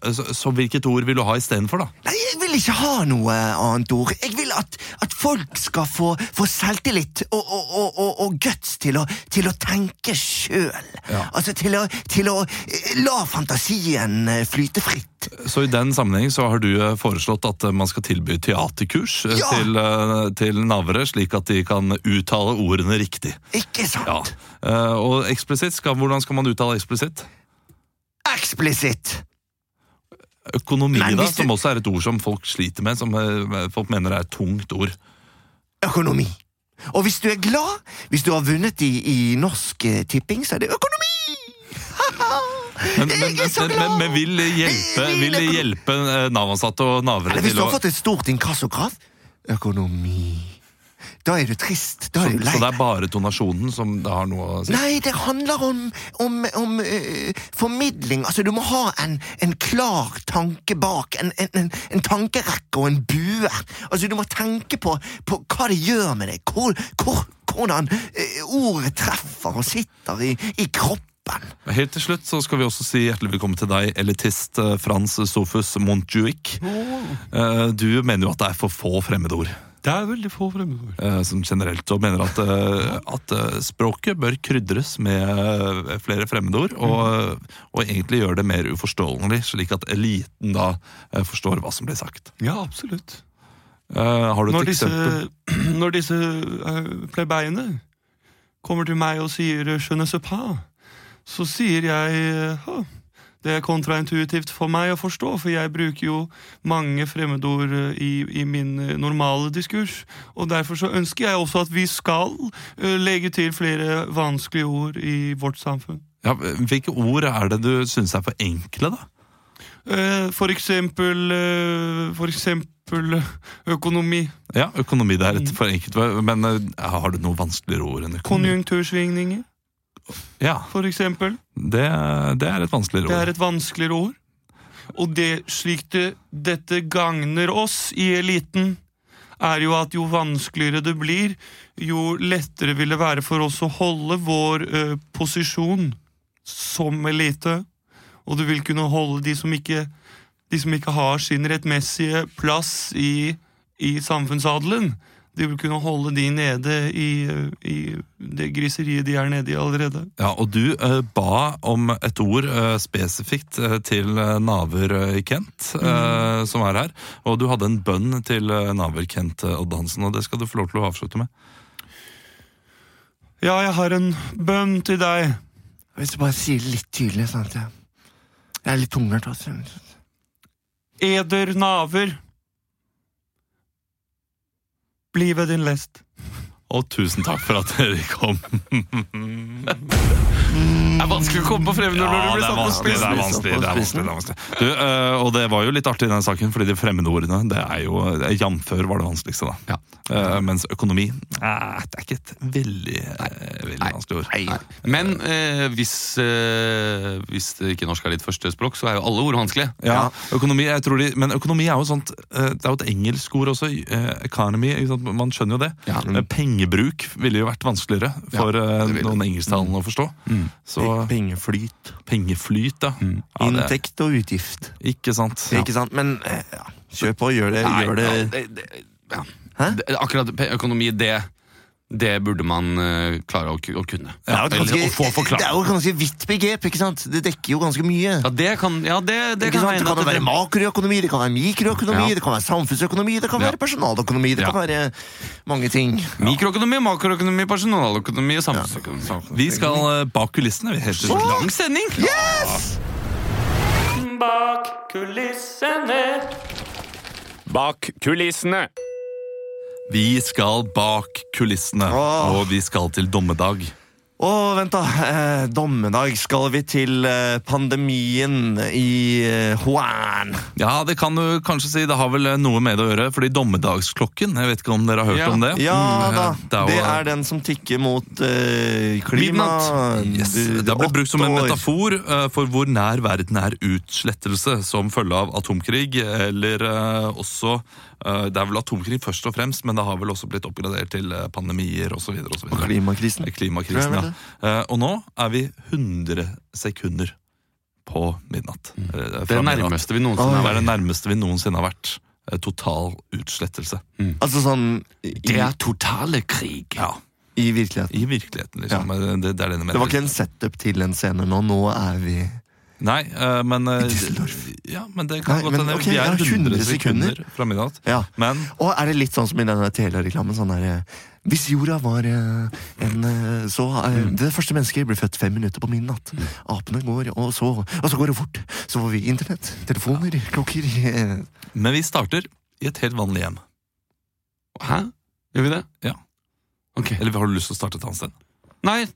Speaker 1: eh, så, så hvilket ord vil du ha istedenfor, da?
Speaker 2: Nei, jeg vil ikke ha noe annet ord. Jeg vil at, at folk skal få, få selvtillit og, og, og, og, og guts til å, til å tenke sjøl. Altså til å, til å eh, la fantasien eh, flyte fritt.
Speaker 1: Så i den sammenheng så har du eh, foreslått at eh, man skal tilby teaterkurs eh,
Speaker 2: Ja!
Speaker 1: til, eh, til navere, slik at de kan uttale ordene riktig.
Speaker 2: Ikke sant?
Speaker 1: Ja. Eh, Og eksplisitt, skal, hvordan skal man uttale eksplisitt?
Speaker 2: Eksplisitt!
Speaker 1: Økonomi,
Speaker 2: Men
Speaker 1: da,
Speaker 2: hvis du-
Speaker 1: som også er et ord som folk sliter med, som eh, folk mener er et tungt ord.
Speaker 2: Økonomi. Og hvis du er glad, hvis du har vunnet i, i norsk eh, tipping, så er det økonomi!
Speaker 1: <laughs> Men, men,
Speaker 2: Jeg er så
Speaker 1: men,
Speaker 2: glad!
Speaker 1: men, men vil hjelpe,
Speaker 2: Min
Speaker 1: vil
Speaker 2: økonomi-
Speaker 1: hjelpe eh, Nav-ansatte og Navere
Speaker 2: Eller hvis
Speaker 1: til
Speaker 2: du
Speaker 1: å
Speaker 2: har fått et stort inkassokrav økonomi. Da er du trist. Da
Speaker 1: så,
Speaker 2: er du lei.
Speaker 1: så det er bare donasjonen som det har noe å si?
Speaker 2: Nei, det handler om, om, om eh, formidling. Altså, du må ha en, en klar tanke bak. En, en, en, en tankerekke og en bue. Altså, du må tenke på, på hva det gjør med deg. Hvor, hvor, hvordan eh, ordet treffer og sitter i, i kroppen.
Speaker 1: Helt til slutt så skal vi også si hjertelig velkommen til deg, elitist eh, Frans Sofus Montjuic. Eh, Du mener jo at det er for få fremmedord
Speaker 8: Det er veldig få fremmedord.
Speaker 1: eh, som generelt, og mener at, eh, at eh, språket bør krydres med eh, flere fremmedord, og,
Speaker 8: Mm.
Speaker 1: og egentlig gjøre det mer uforståelig, slik at eliten da eh, forstår hva som blir sagt.
Speaker 8: Ja, absolutt.
Speaker 1: Eh, Har du et
Speaker 8: Når disse,
Speaker 1: eksempel?
Speaker 8: når disse eh, plebeiene kommer til meg og sier eh, 'je ne sais pas', så sier jeg eh, «Hå, det er kontraintuitivt for meg å forstå, for jeg bruker jo mange fremmedord eh, i, i min eh, normale diskurs. Og derfor så ønsker jeg også at vi skal eh, legge til flere vanskelige ord i vårt samfunn.
Speaker 1: Ja, hvilke ord er det du syns er for enkle, da?
Speaker 8: Eh, For eksempel, eh, for eksempel eh, økonomi.
Speaker 1: Ja, økonomi det er
Speaker 8: Mm.
Speaker 1: et for enkelt, men eh, har du noe vanskeligere ord enn økonomi?
Speaker 8: Konjunktursvingninger,
Speaker 1: Ja,
Speaker 8: for eksempel.
Speaker 1: det, det er et vanskeligere
Speaker 8: Det
Speaker 1: ord.
Speaker 8: er et vanskeligere ord. Og det, slik det, dette gagner oss i eliten, er jo at jo vanskeligere det blir, jo lettere vil det være for oss å holde vår eh, posisjon som elite. Og du vil kunne holde de som ikke, de som ikke har sin rettmessige plass i, i samfunnsadelen. De vil kunne holde de nede i, eh, i det griseriet de er nede i allerede.
Speaker 1: Ja, og du eh, ba om et ord eh, spesifikt eh, til eh, Naver eh, Kent, eh,
Speaker 8: Mm.
Speaker 1: som er her. Og du hadde en bønn til eh, Naver Kent eh, Odd Hansen, og det skal du få lov til å avslutte med.
Speaker 8: Ja, jeg har en bønn til deg.
Speaker 2: Hvis du bare sier det litt tydelig, sånn at jeg, jeg er litt tunghørt. altså.
Speaker 8: Eder naver. Bli ved din lest.
Speaker 1: Og tusen takk for at dere kom.
Speaker 8: Det er vanskelig å komme på fremmedord
Speaker 1: Ja, det er vanskelig, det er vanskelig. det er vanskelig, det er vanskelig. Du, eh, og det var jo litt artig i den saken, fordi de fremmedordene, det er jo eh, Jamfør var det vanskeligste, da. Eh, mens økonomi, eh, det er ikke et veldig, eh, veldig vanskelig ord.
Speaker 3: Men eh, hvis, eh, hvis det ikke norsk er ditt første språk, så er jo alle ord vanskelige.
Speaker 1: Ja, økonomi, jeg tror de, men økonomi er jo sånt eh, Det er jo et engelsk ord også. eh, Economy. Ikke sant? Man skjønner jo det. Eh, Pengebruk ville jo vært vanskeligere for eh, noen engelsktalende å forstå. Så
Speaker 2: Pengeflyt.
Speaker 1: pengeflyt, ja. ja det,
Speaker 2: Mm. Inntekt og utgift.
Speaker 1: ikke sant?
Speaker 2: Ikke sant? Men eh, ja. kjør på, gjør det. Gjør det.
Speaker 3: Nei, ja, det, det, ja.
Speaker 2: Hæ?
Speaker 3: Det, akkurat pe- økonomi, det Det burde man eh, klare å, ku- å kunne.
Speaker 2: Det er jo et
Speaker 3: Eller å få
Speaker 2: ganske, det er
Speaker 3: forklart.
Speaker 2: jo et ganske vidt begrep. ikke sant? Det dekker jo ganske mye.
Speaker 3: Ja, det kan, ja, det, det
Speaker 2: Ikke
Speaker 3: kan
Speaker 2: sant? Det
Speaker 3: hende
Speaker 2: kan
Speaker 3: at
Speaker 2: jo være
Speaker 3: det-
Speaker 2: makroøkonomi, det kan være mikroøkonomi,
Speaker 3: Ja.
Speaker 2: det kan være samfunnsøkonomi, det kan
Speaker 3: Ja.
Speaker 2: være personaløkonomi, det kan være mange ting.
Speaker 3: Mikroøkonomi, makroøkonomi, personaløkonomi og samfunnsøkonomi.
Speaker 1: Vi skal eh, bak kulissene. vi, Helt til slutt.
Speaker 3: Lang sending!
Speaker 9: Bak kulissene.
Speaker 1: Vi skal bak kulissene,
Speaker 2: Åh.
Speaker 1: og vi skal til dommedag.
Speaker 2: Å, vent da. Eh, dommedag skal vi til eh, pandemien i eh, Wuhan.
Speaker 1: Ja, det kan du kanskje si. Det har vel eh, noe med det å gjøre, fordi dommedagsklokken Jeg vet ikke om dere har hørt
Speaker 3: Ja.
Speaker 1: om det?
Speaker 2: Ja
Speaker 1: Mm,
Speaker 2: da.
Speaker 1: Det er, jo,
Speaker 2: Det er den som tikker mot eh, klima.
Speaker 1: Yes.
Speaker 2: eh,
Speaker 1: Det ble brukt som en
Speaker 2: åtte år.
Speaker 1: metafor eh, for hvor nær verden er utslettelse som følge av atomkrig, eller eh, også eh, Det er vel atomkrig først og fremst, men det har vel også blitt oppgradert til eh, pandemier osv.
Speaker 2: Klimakrisen.
Speaker 1: Klimakrisen, ja. Eh, Og nå er vi 100 sekunder på midnatt. Eh,
Speaker 3: Det
Speaker 1: fra midnatt.
Speaker 3: nærmeste vi noensinne
Speaker 1: Det
Speaker 3: har
Speaker 1: er
Speaker 3: vært.
Speaker 1: det nærmeste vi noensinne har vært. eh, Total utslettelse.
Speaker 2: Altså sånn i,
Speaker 3: totale krig. Ja.
Speaker 2: i virkeligheten.
Speaker 1: I virkeligheten, liksom. Det, det er det det
Speaker 2: Det var ikke en setup til en scene nå. Nå er vi
Speaker 1: Nei, eh, men eh,
Speaker 2: Düsseldorf.
Speaker 1: Ja, men det kan
Speaker 2: Nei,
Speaker 1: godt
Speaker 2: men
Speaker 1: hende.
Speaker 2: ok,
Speaker 1: Vi
Speaker 2: ja,
Speaker 1: er 100
Speaker 2: 100 sekunder.
Speaker 1: sekunder fra midnatt.
Speaker 2: Ja.
Speaker 1: Men
Speaker 2: Og er det litt sånn som i denne Telia-reklamen? Sånn der, eh, hvis jorda var eh, en eh, Så eh,
Speaker 3: Mm.
Speaker 2: Det første mennesket ble født fem minutter på midnatt. Apene går, og så Og så går det fort. Så får vi internett, telefoner, klokker eh,
Speaker 1: Men vi starter i et helt vanlig hjem.
Speaker 3: Hæ? Gjør vi det?
Speaker 1: Ja.
Speaker 3: Ok.
Speaker 1: Eller har du lyst til å starte et annet sted?
Speaker 3: Nei,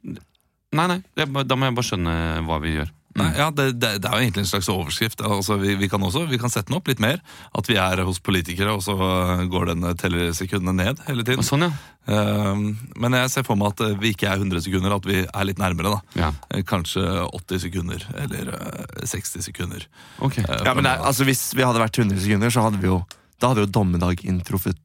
Speaker 3: nei, nei. Jeg, må- da må jeg bare skjønne hva vi gjør.
Speaker 1: Nei,
Speaker 2: Mm.
Speaker 1: ja, det, det, det er jo egentlig en slags overskrift. Altså, vi, vi kan også vi kan sette den opp litt mer. At vi er hos politikere, og så øh, går den øh, tellesekundene ned hele
Speaker 3: Og
Speaker 1: tiden.
Speaker 3: Sånn, ja.
Speaker 1: Ehm, men jeg ser for meg at øh, vi ikke er 100 sekunder, at vi er litt nærmere. da.
Speaker 3: Ja,
Speaker 1: Eh, Kanskje 80 sekunder, eller øh, 60 sekunder.
Speaker 3: ok.
Speaker 1: eh,
Speaker 2: Ja, men det,
Speaker 1: fra
Speaker 2: er- altså Hvis vi hadde vært 100 sekunder, så hadde vi jo Da hadde jo dommedag inntruffet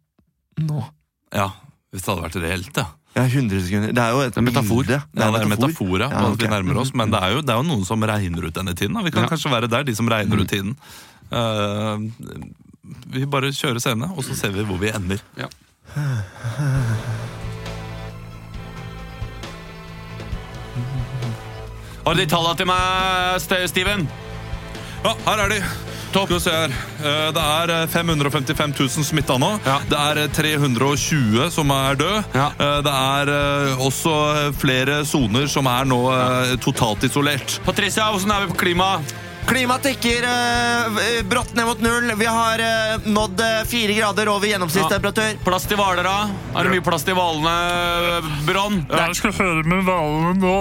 Speaker 2: nå.
Speaker 1: nå. ja, Hvis det hadde vært reelt, ja.
Speaker 2: Ja, 100 sekunder. Det er jo et
Speaker 3: er en metafor.
Speaker 2: bilde.
Speaker 1: Ja, det er en metafor, ja,
Speaker 2: Ja,
Speaker 1: på at
Speaker 2: ok.
Speaker 1: vi nærmer oss, men det er, jo, det er jo noen som regner ut denne tiden. Da. Vi kan
Speaker 3: Ja.
Speaker 1: kanskje være der, de som regner ut tiden. Eh, vi bare kjører scenene, og så ser vi hvor vi ender.
Speaker 3: Har du de tallene til meg, Ste- Steven?
Speaker 1: Ja, her er de! Topp. Skal vi se her. Eh, Det er eh, 555 000 smitta nå.
Speaker 3: Ja.
Speaker 1: Det er eh, 320 som er døde.
Speaker 3: Ja.
Speaker 1: Eh, Det er eh, også eh, flere soner som er nå eh, totalt isolert.
Speaker 3: Patricia, hvordan er vi på klima?
Speaker 2: Klima tikker eh, brått ned mot null. Vi har eh, nådd eh, fire grader over gjennomsnittstemperatur.
Speaker 3: Plass til hvaler, da? Er det mye plass til hvalene, Bronn?
Speaker 10: Jeg skal høre med hvalene nå.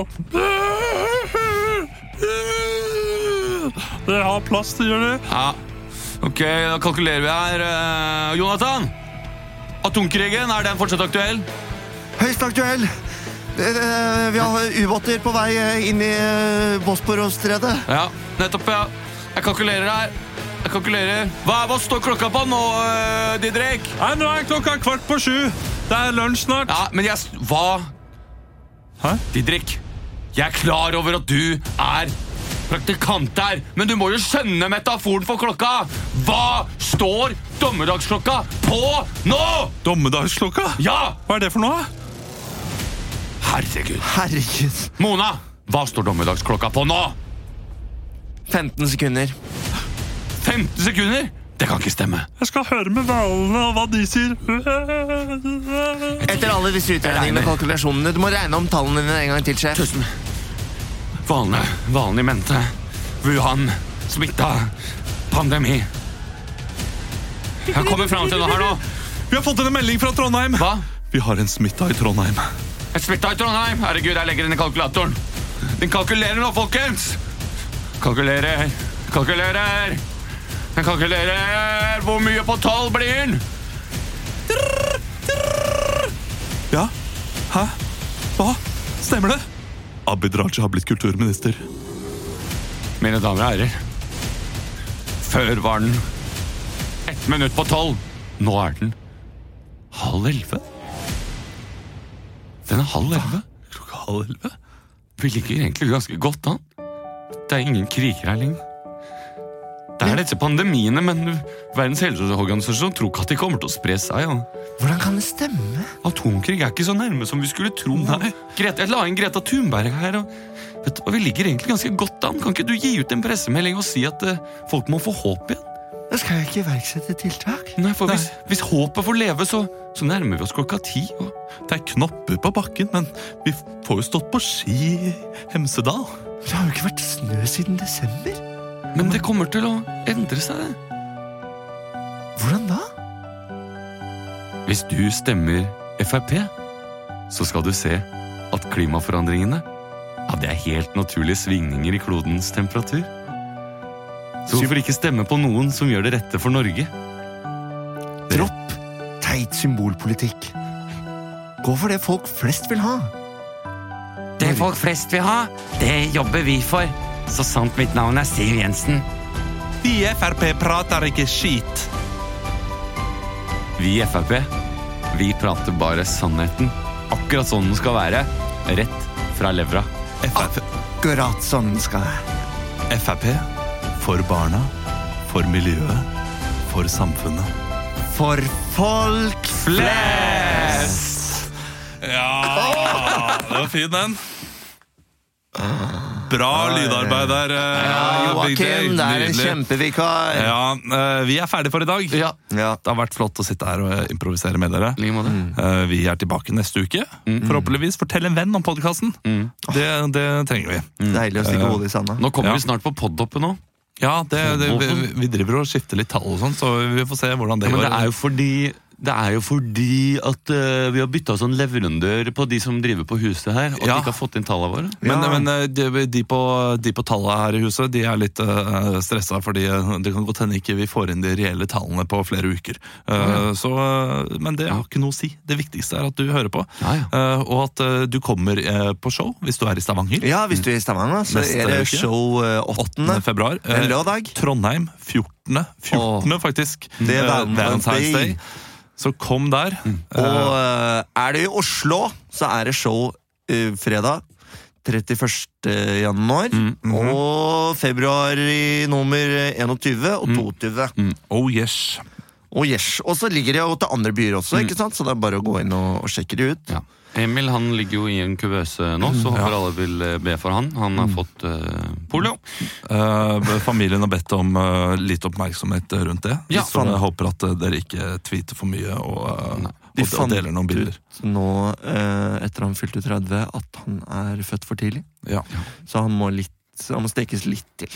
Speaker 10: Dere har plass til å gjøre det.
Speaker 3: Ja. Ok, da kalkulerer vi her. Eh, Jonathan? Atomkrigen, er den fortsatt aktuell?
Speaker 2: Høyst aktuell. Eh, Vi har ubåter på vei eh, inn i eh, Bosporosstredet.
Speaker 3: Ja, nettopp, ja. Jeg kalkulerer her. Jeg kalkulerer. Hva, hva står klokka på nå, eh, Didrik?
Speaker 10: Nei, nå er klokka kvart på sju. Det er lunsj snart.
Speaker 3: Ja, men jeg s- Hva?
Speaker 10: Hæ?
Speaker 3: Didrik, jeg er klar over at du er praktikant der, men du må jo skjønne metaforen for klokka. Hva står dommedagsklokka på nå?
Speaker 1: Dommedagsklokka!
Speaker 3: Ja!
Speaker 10: Hva er det for noe? da?
Speaker 3: Herregud.
Speaker 2: Herregud.
Speaker 3: Mona, hva står dommedagsklokka på nå?
Speaker 2: 15 sekunder.
Speaker 3: 15 sekunder? Det kan ikke stemme.
Speaker 10: Jeg skal høre med hvalene og hva de sier.
Speaker 2: Etter alle disse utregningene og kalkulasjonene. Du må regne om tallene dine en gang til, sjef.
Speaker 3: Tusen. Valene, valene i mente. Wuhan, smitta, pandemi. Jeg kommer fram til noe her nå.
Speaker 1: Vi har fått en melding fra Trondheim!
Speaker 3: Hva?
Speaker 1: Vi har en smitta i Trondheim.
Speaker 3: Jeg smitta i Trondheim. Herregud, jeg legger den i kalkulatoren. Den kalkulerer nå, folkens! Kalkulerer, kalkulerer. Den kalkulerer. Hvor mye på tolv blir den?
Speaker 1: Ja? Hæ? Hva? Stemmer det? Abid Raja har blitt kulturminister.
Speaker 3: Mine damer og herrer. Før var den ett minutt på tolv. Nå er den halv elleve. Den er halv elleve.
Speaker 1: Klokka halv elleve?
Speaker 3: Vi ligger egentlig ganske godt an. Det er ingen kriger her lenger. Det er er disse pandemiene, men Verdens helseorganisasjon tror ikke at de kommer til å spre seg. Og
Speaker 2: Hvordan kan det stemme?
Speaker 3: atomkrig er ikke så nærme som vi skulle tro. Grete, jeg la inn Greta Thunberg her, og, vet du, hva, vi ligger egentlig ganske godt an. Kan ikke du gi ut en pressemelding og si at eh, folk må få håp igjen?
Speaker 2: Da skal jeg ikke iverksette tiltak.
Speaker 3: Nei, for Hvis, hvis håpet får leve, så, så nærmer vi oss klokka ti. Og
Speaker 1: Det er knopper på bakken, men vi får jo stått på ski i Hemsedal.
Speaker 2: Det har jo ikke vært snø siden desember.
Speaker 3: Men det kommer til å endre seg. det.
Speaker 2: Hvordan da?
Speaker 3: Hvis du stemmer Frp, så skal du se at klimaforandringene ja, det er helt naturlige svingninger i klodens temperatur. Så hvorfor ikke stemme på noen som gjør det rette for Norge?
Speaker 2: Dropp teit symbolpolitikk. Gå for det folk flest vil ha.
Speaker 7: Det folk flest vil ha, det jobber vi for. Så sant mitt navn er Siv Jensen.
Speaker 1: De i Frp prater ikke skit.
Speaker 3: Vi i Frp, vi prater bare sannheten. Akkurat sånn den skal være. Rett fra levra.
Speaker 1: Frp,
Speaker 2: Akkurat sånn skal jeg.
Speaker 10: Ah.
Speaker 1: Frp for barna, for miljøet, for samfunnet.
Speaker 2: For folk
Speaker 1: Ja, det var fin den. Bra lydarbeid der. eh, Big Day.
Speaker 2: Joakim, det er en
Speaker 1: Nydelig.
Speaker 2: kjempevikar.
Speaker 1: Ja, eh, vi er ferdige for i dag.
Speaker 3: Ja, Mm.
Speaker 2: Ja.
Speaker 1: Det har vært flott å sitte her og eh, improvisere med dere.
Speaker 3: i like måte.
Speaker 1: Eh, Vi er tilbake neste uke.
Speaker 3: Mm.
Speaker 1: Forhåpentligvis fortell en venn om podkasten. Det, det trenger vi.
Speaker 2: Deilig å stikke hodet i sanda.
Speaker 3: Nå kommer
Speaker 1: Mm. Ja.
Speaker 3: vi snart på podhoppet nå.
Speaker 1: Ja, det, det, vi, vi driver og skifter litt tall og sånn, så vi får se hvordan det
Speaker 3: Ja, men
Speaker 1: går.
Speaker 3: det er jo fordi det er jo fordi at eh, vi har bytta sånn leverandør på de som driver på huset her. At
Speaker 1: Ja.
Speaker 3: de ikke har fått inn tallene våre.
Speaker 1: Men,
Speaker 2: Ja.
Speaker 1: men, eh, de, de, på, de på tallet her i huset De er litt uh, stressa, fordi eh, det kan godt hende ikke vi får inn de reelle tallene på flere uker. Eh, så, eh, men det har ikke noe å si. Det viktigste er at du hører på,
Speaker 3: Ja,
Speaker 1: eh, og at eh, du kommer eh, på show hvis du er i Stavanger.
Speaker 2: Ja, hvis du er i Stavanger, så
Speaker 1: Neste
Speaker 2: er det
Speaker 1: uke.
Speaker 2: show eh,
Speaker 1: 8.
Speaker 2: åttende.
Speaker 1: februar.
Speaker 2: Det er
Speaker 1: Eh,
Speaker 2: lørdag.
Speaker 1: Trondheim 14. 14. faktisk.
Speaker 2: Det er
Speaker 1: Eh,
Speaker 2: Valentine's
Speaker 1: Valentine's
Speaker 2: Day. Mm.
Speaker 1: Day. Så kom der.
Speaker 2: Og eh, er du i Oslo, så er det show eh, fredag 31. januar.
Speaker 1: Mm, mhm.
Speaker 2: Og februar i nummer 21 og 22.
Speaker 1: Mm. Oh yes. Mm.
Speaker 2: Og yes. Og så ligger det jo til andre byer også, ikke sant? så det er bare å gå inn og, og sjekke det ut.
Speaker 3: Ja. Emil han ligger jo i en kuvøse nå, så håper alle vil eh, be for han. Han har fått eh, polio.
Speaker 1: Eh, familien har bedt om eh, litt oppmerksomhet rundt det.
Speaker 3: Ja.
Speaker 1: så jeg håper at eh, dere ikke tweeter for mye og, eh,
Speaker 2: De
Speaker 1: og, og deler noen bilder.
Speaker 2: Så Nå, eh, etter han fylte 30, at han er født for tidlig.
Speaker 1: Ja,
Speaker 2: Så han må, litt, han må stekes litt til.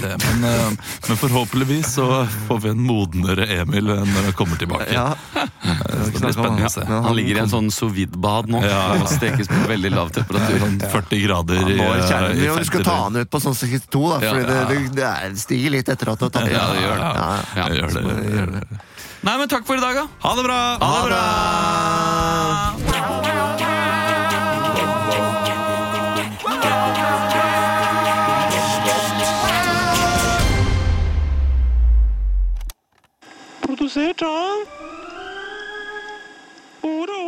Speaker 1: det. Men, eh, men forhåpentligvis så får vi en modnere Emil eh, når han kommer tilbake.
Speaker 2: <laughs> Ja.
Speaker 1: det blir spennende å se.
Speaker 2: Men
Speaker 3: Han ligger i en sånn sous vide-bad nå og stekes på veldig lav temperatur.
Speaker 1: Sånn 40 grader i,
Speaker 2: Nå er
Speaker 1: eh,
Speaker 2: kjernen
Speaker 1: i
Speaker 2: jo, du skal
Speaker 1: 50
Speaker 2: ta han ut på sånn 62, da, for det, det, det er- stiger litt etter at du har tatt
Speaker 3: Ja, det gjør det.
Speaker 2: Ja.
Speaker 3: Ja.
Speaker 1: Jeg Gjør det, jeg gjør det.
Speaker 3: Nei, men takk for i dag, da.
Speaker 1: Ha det bra! Ha det bra!
Speaker 10: Produsert av Oro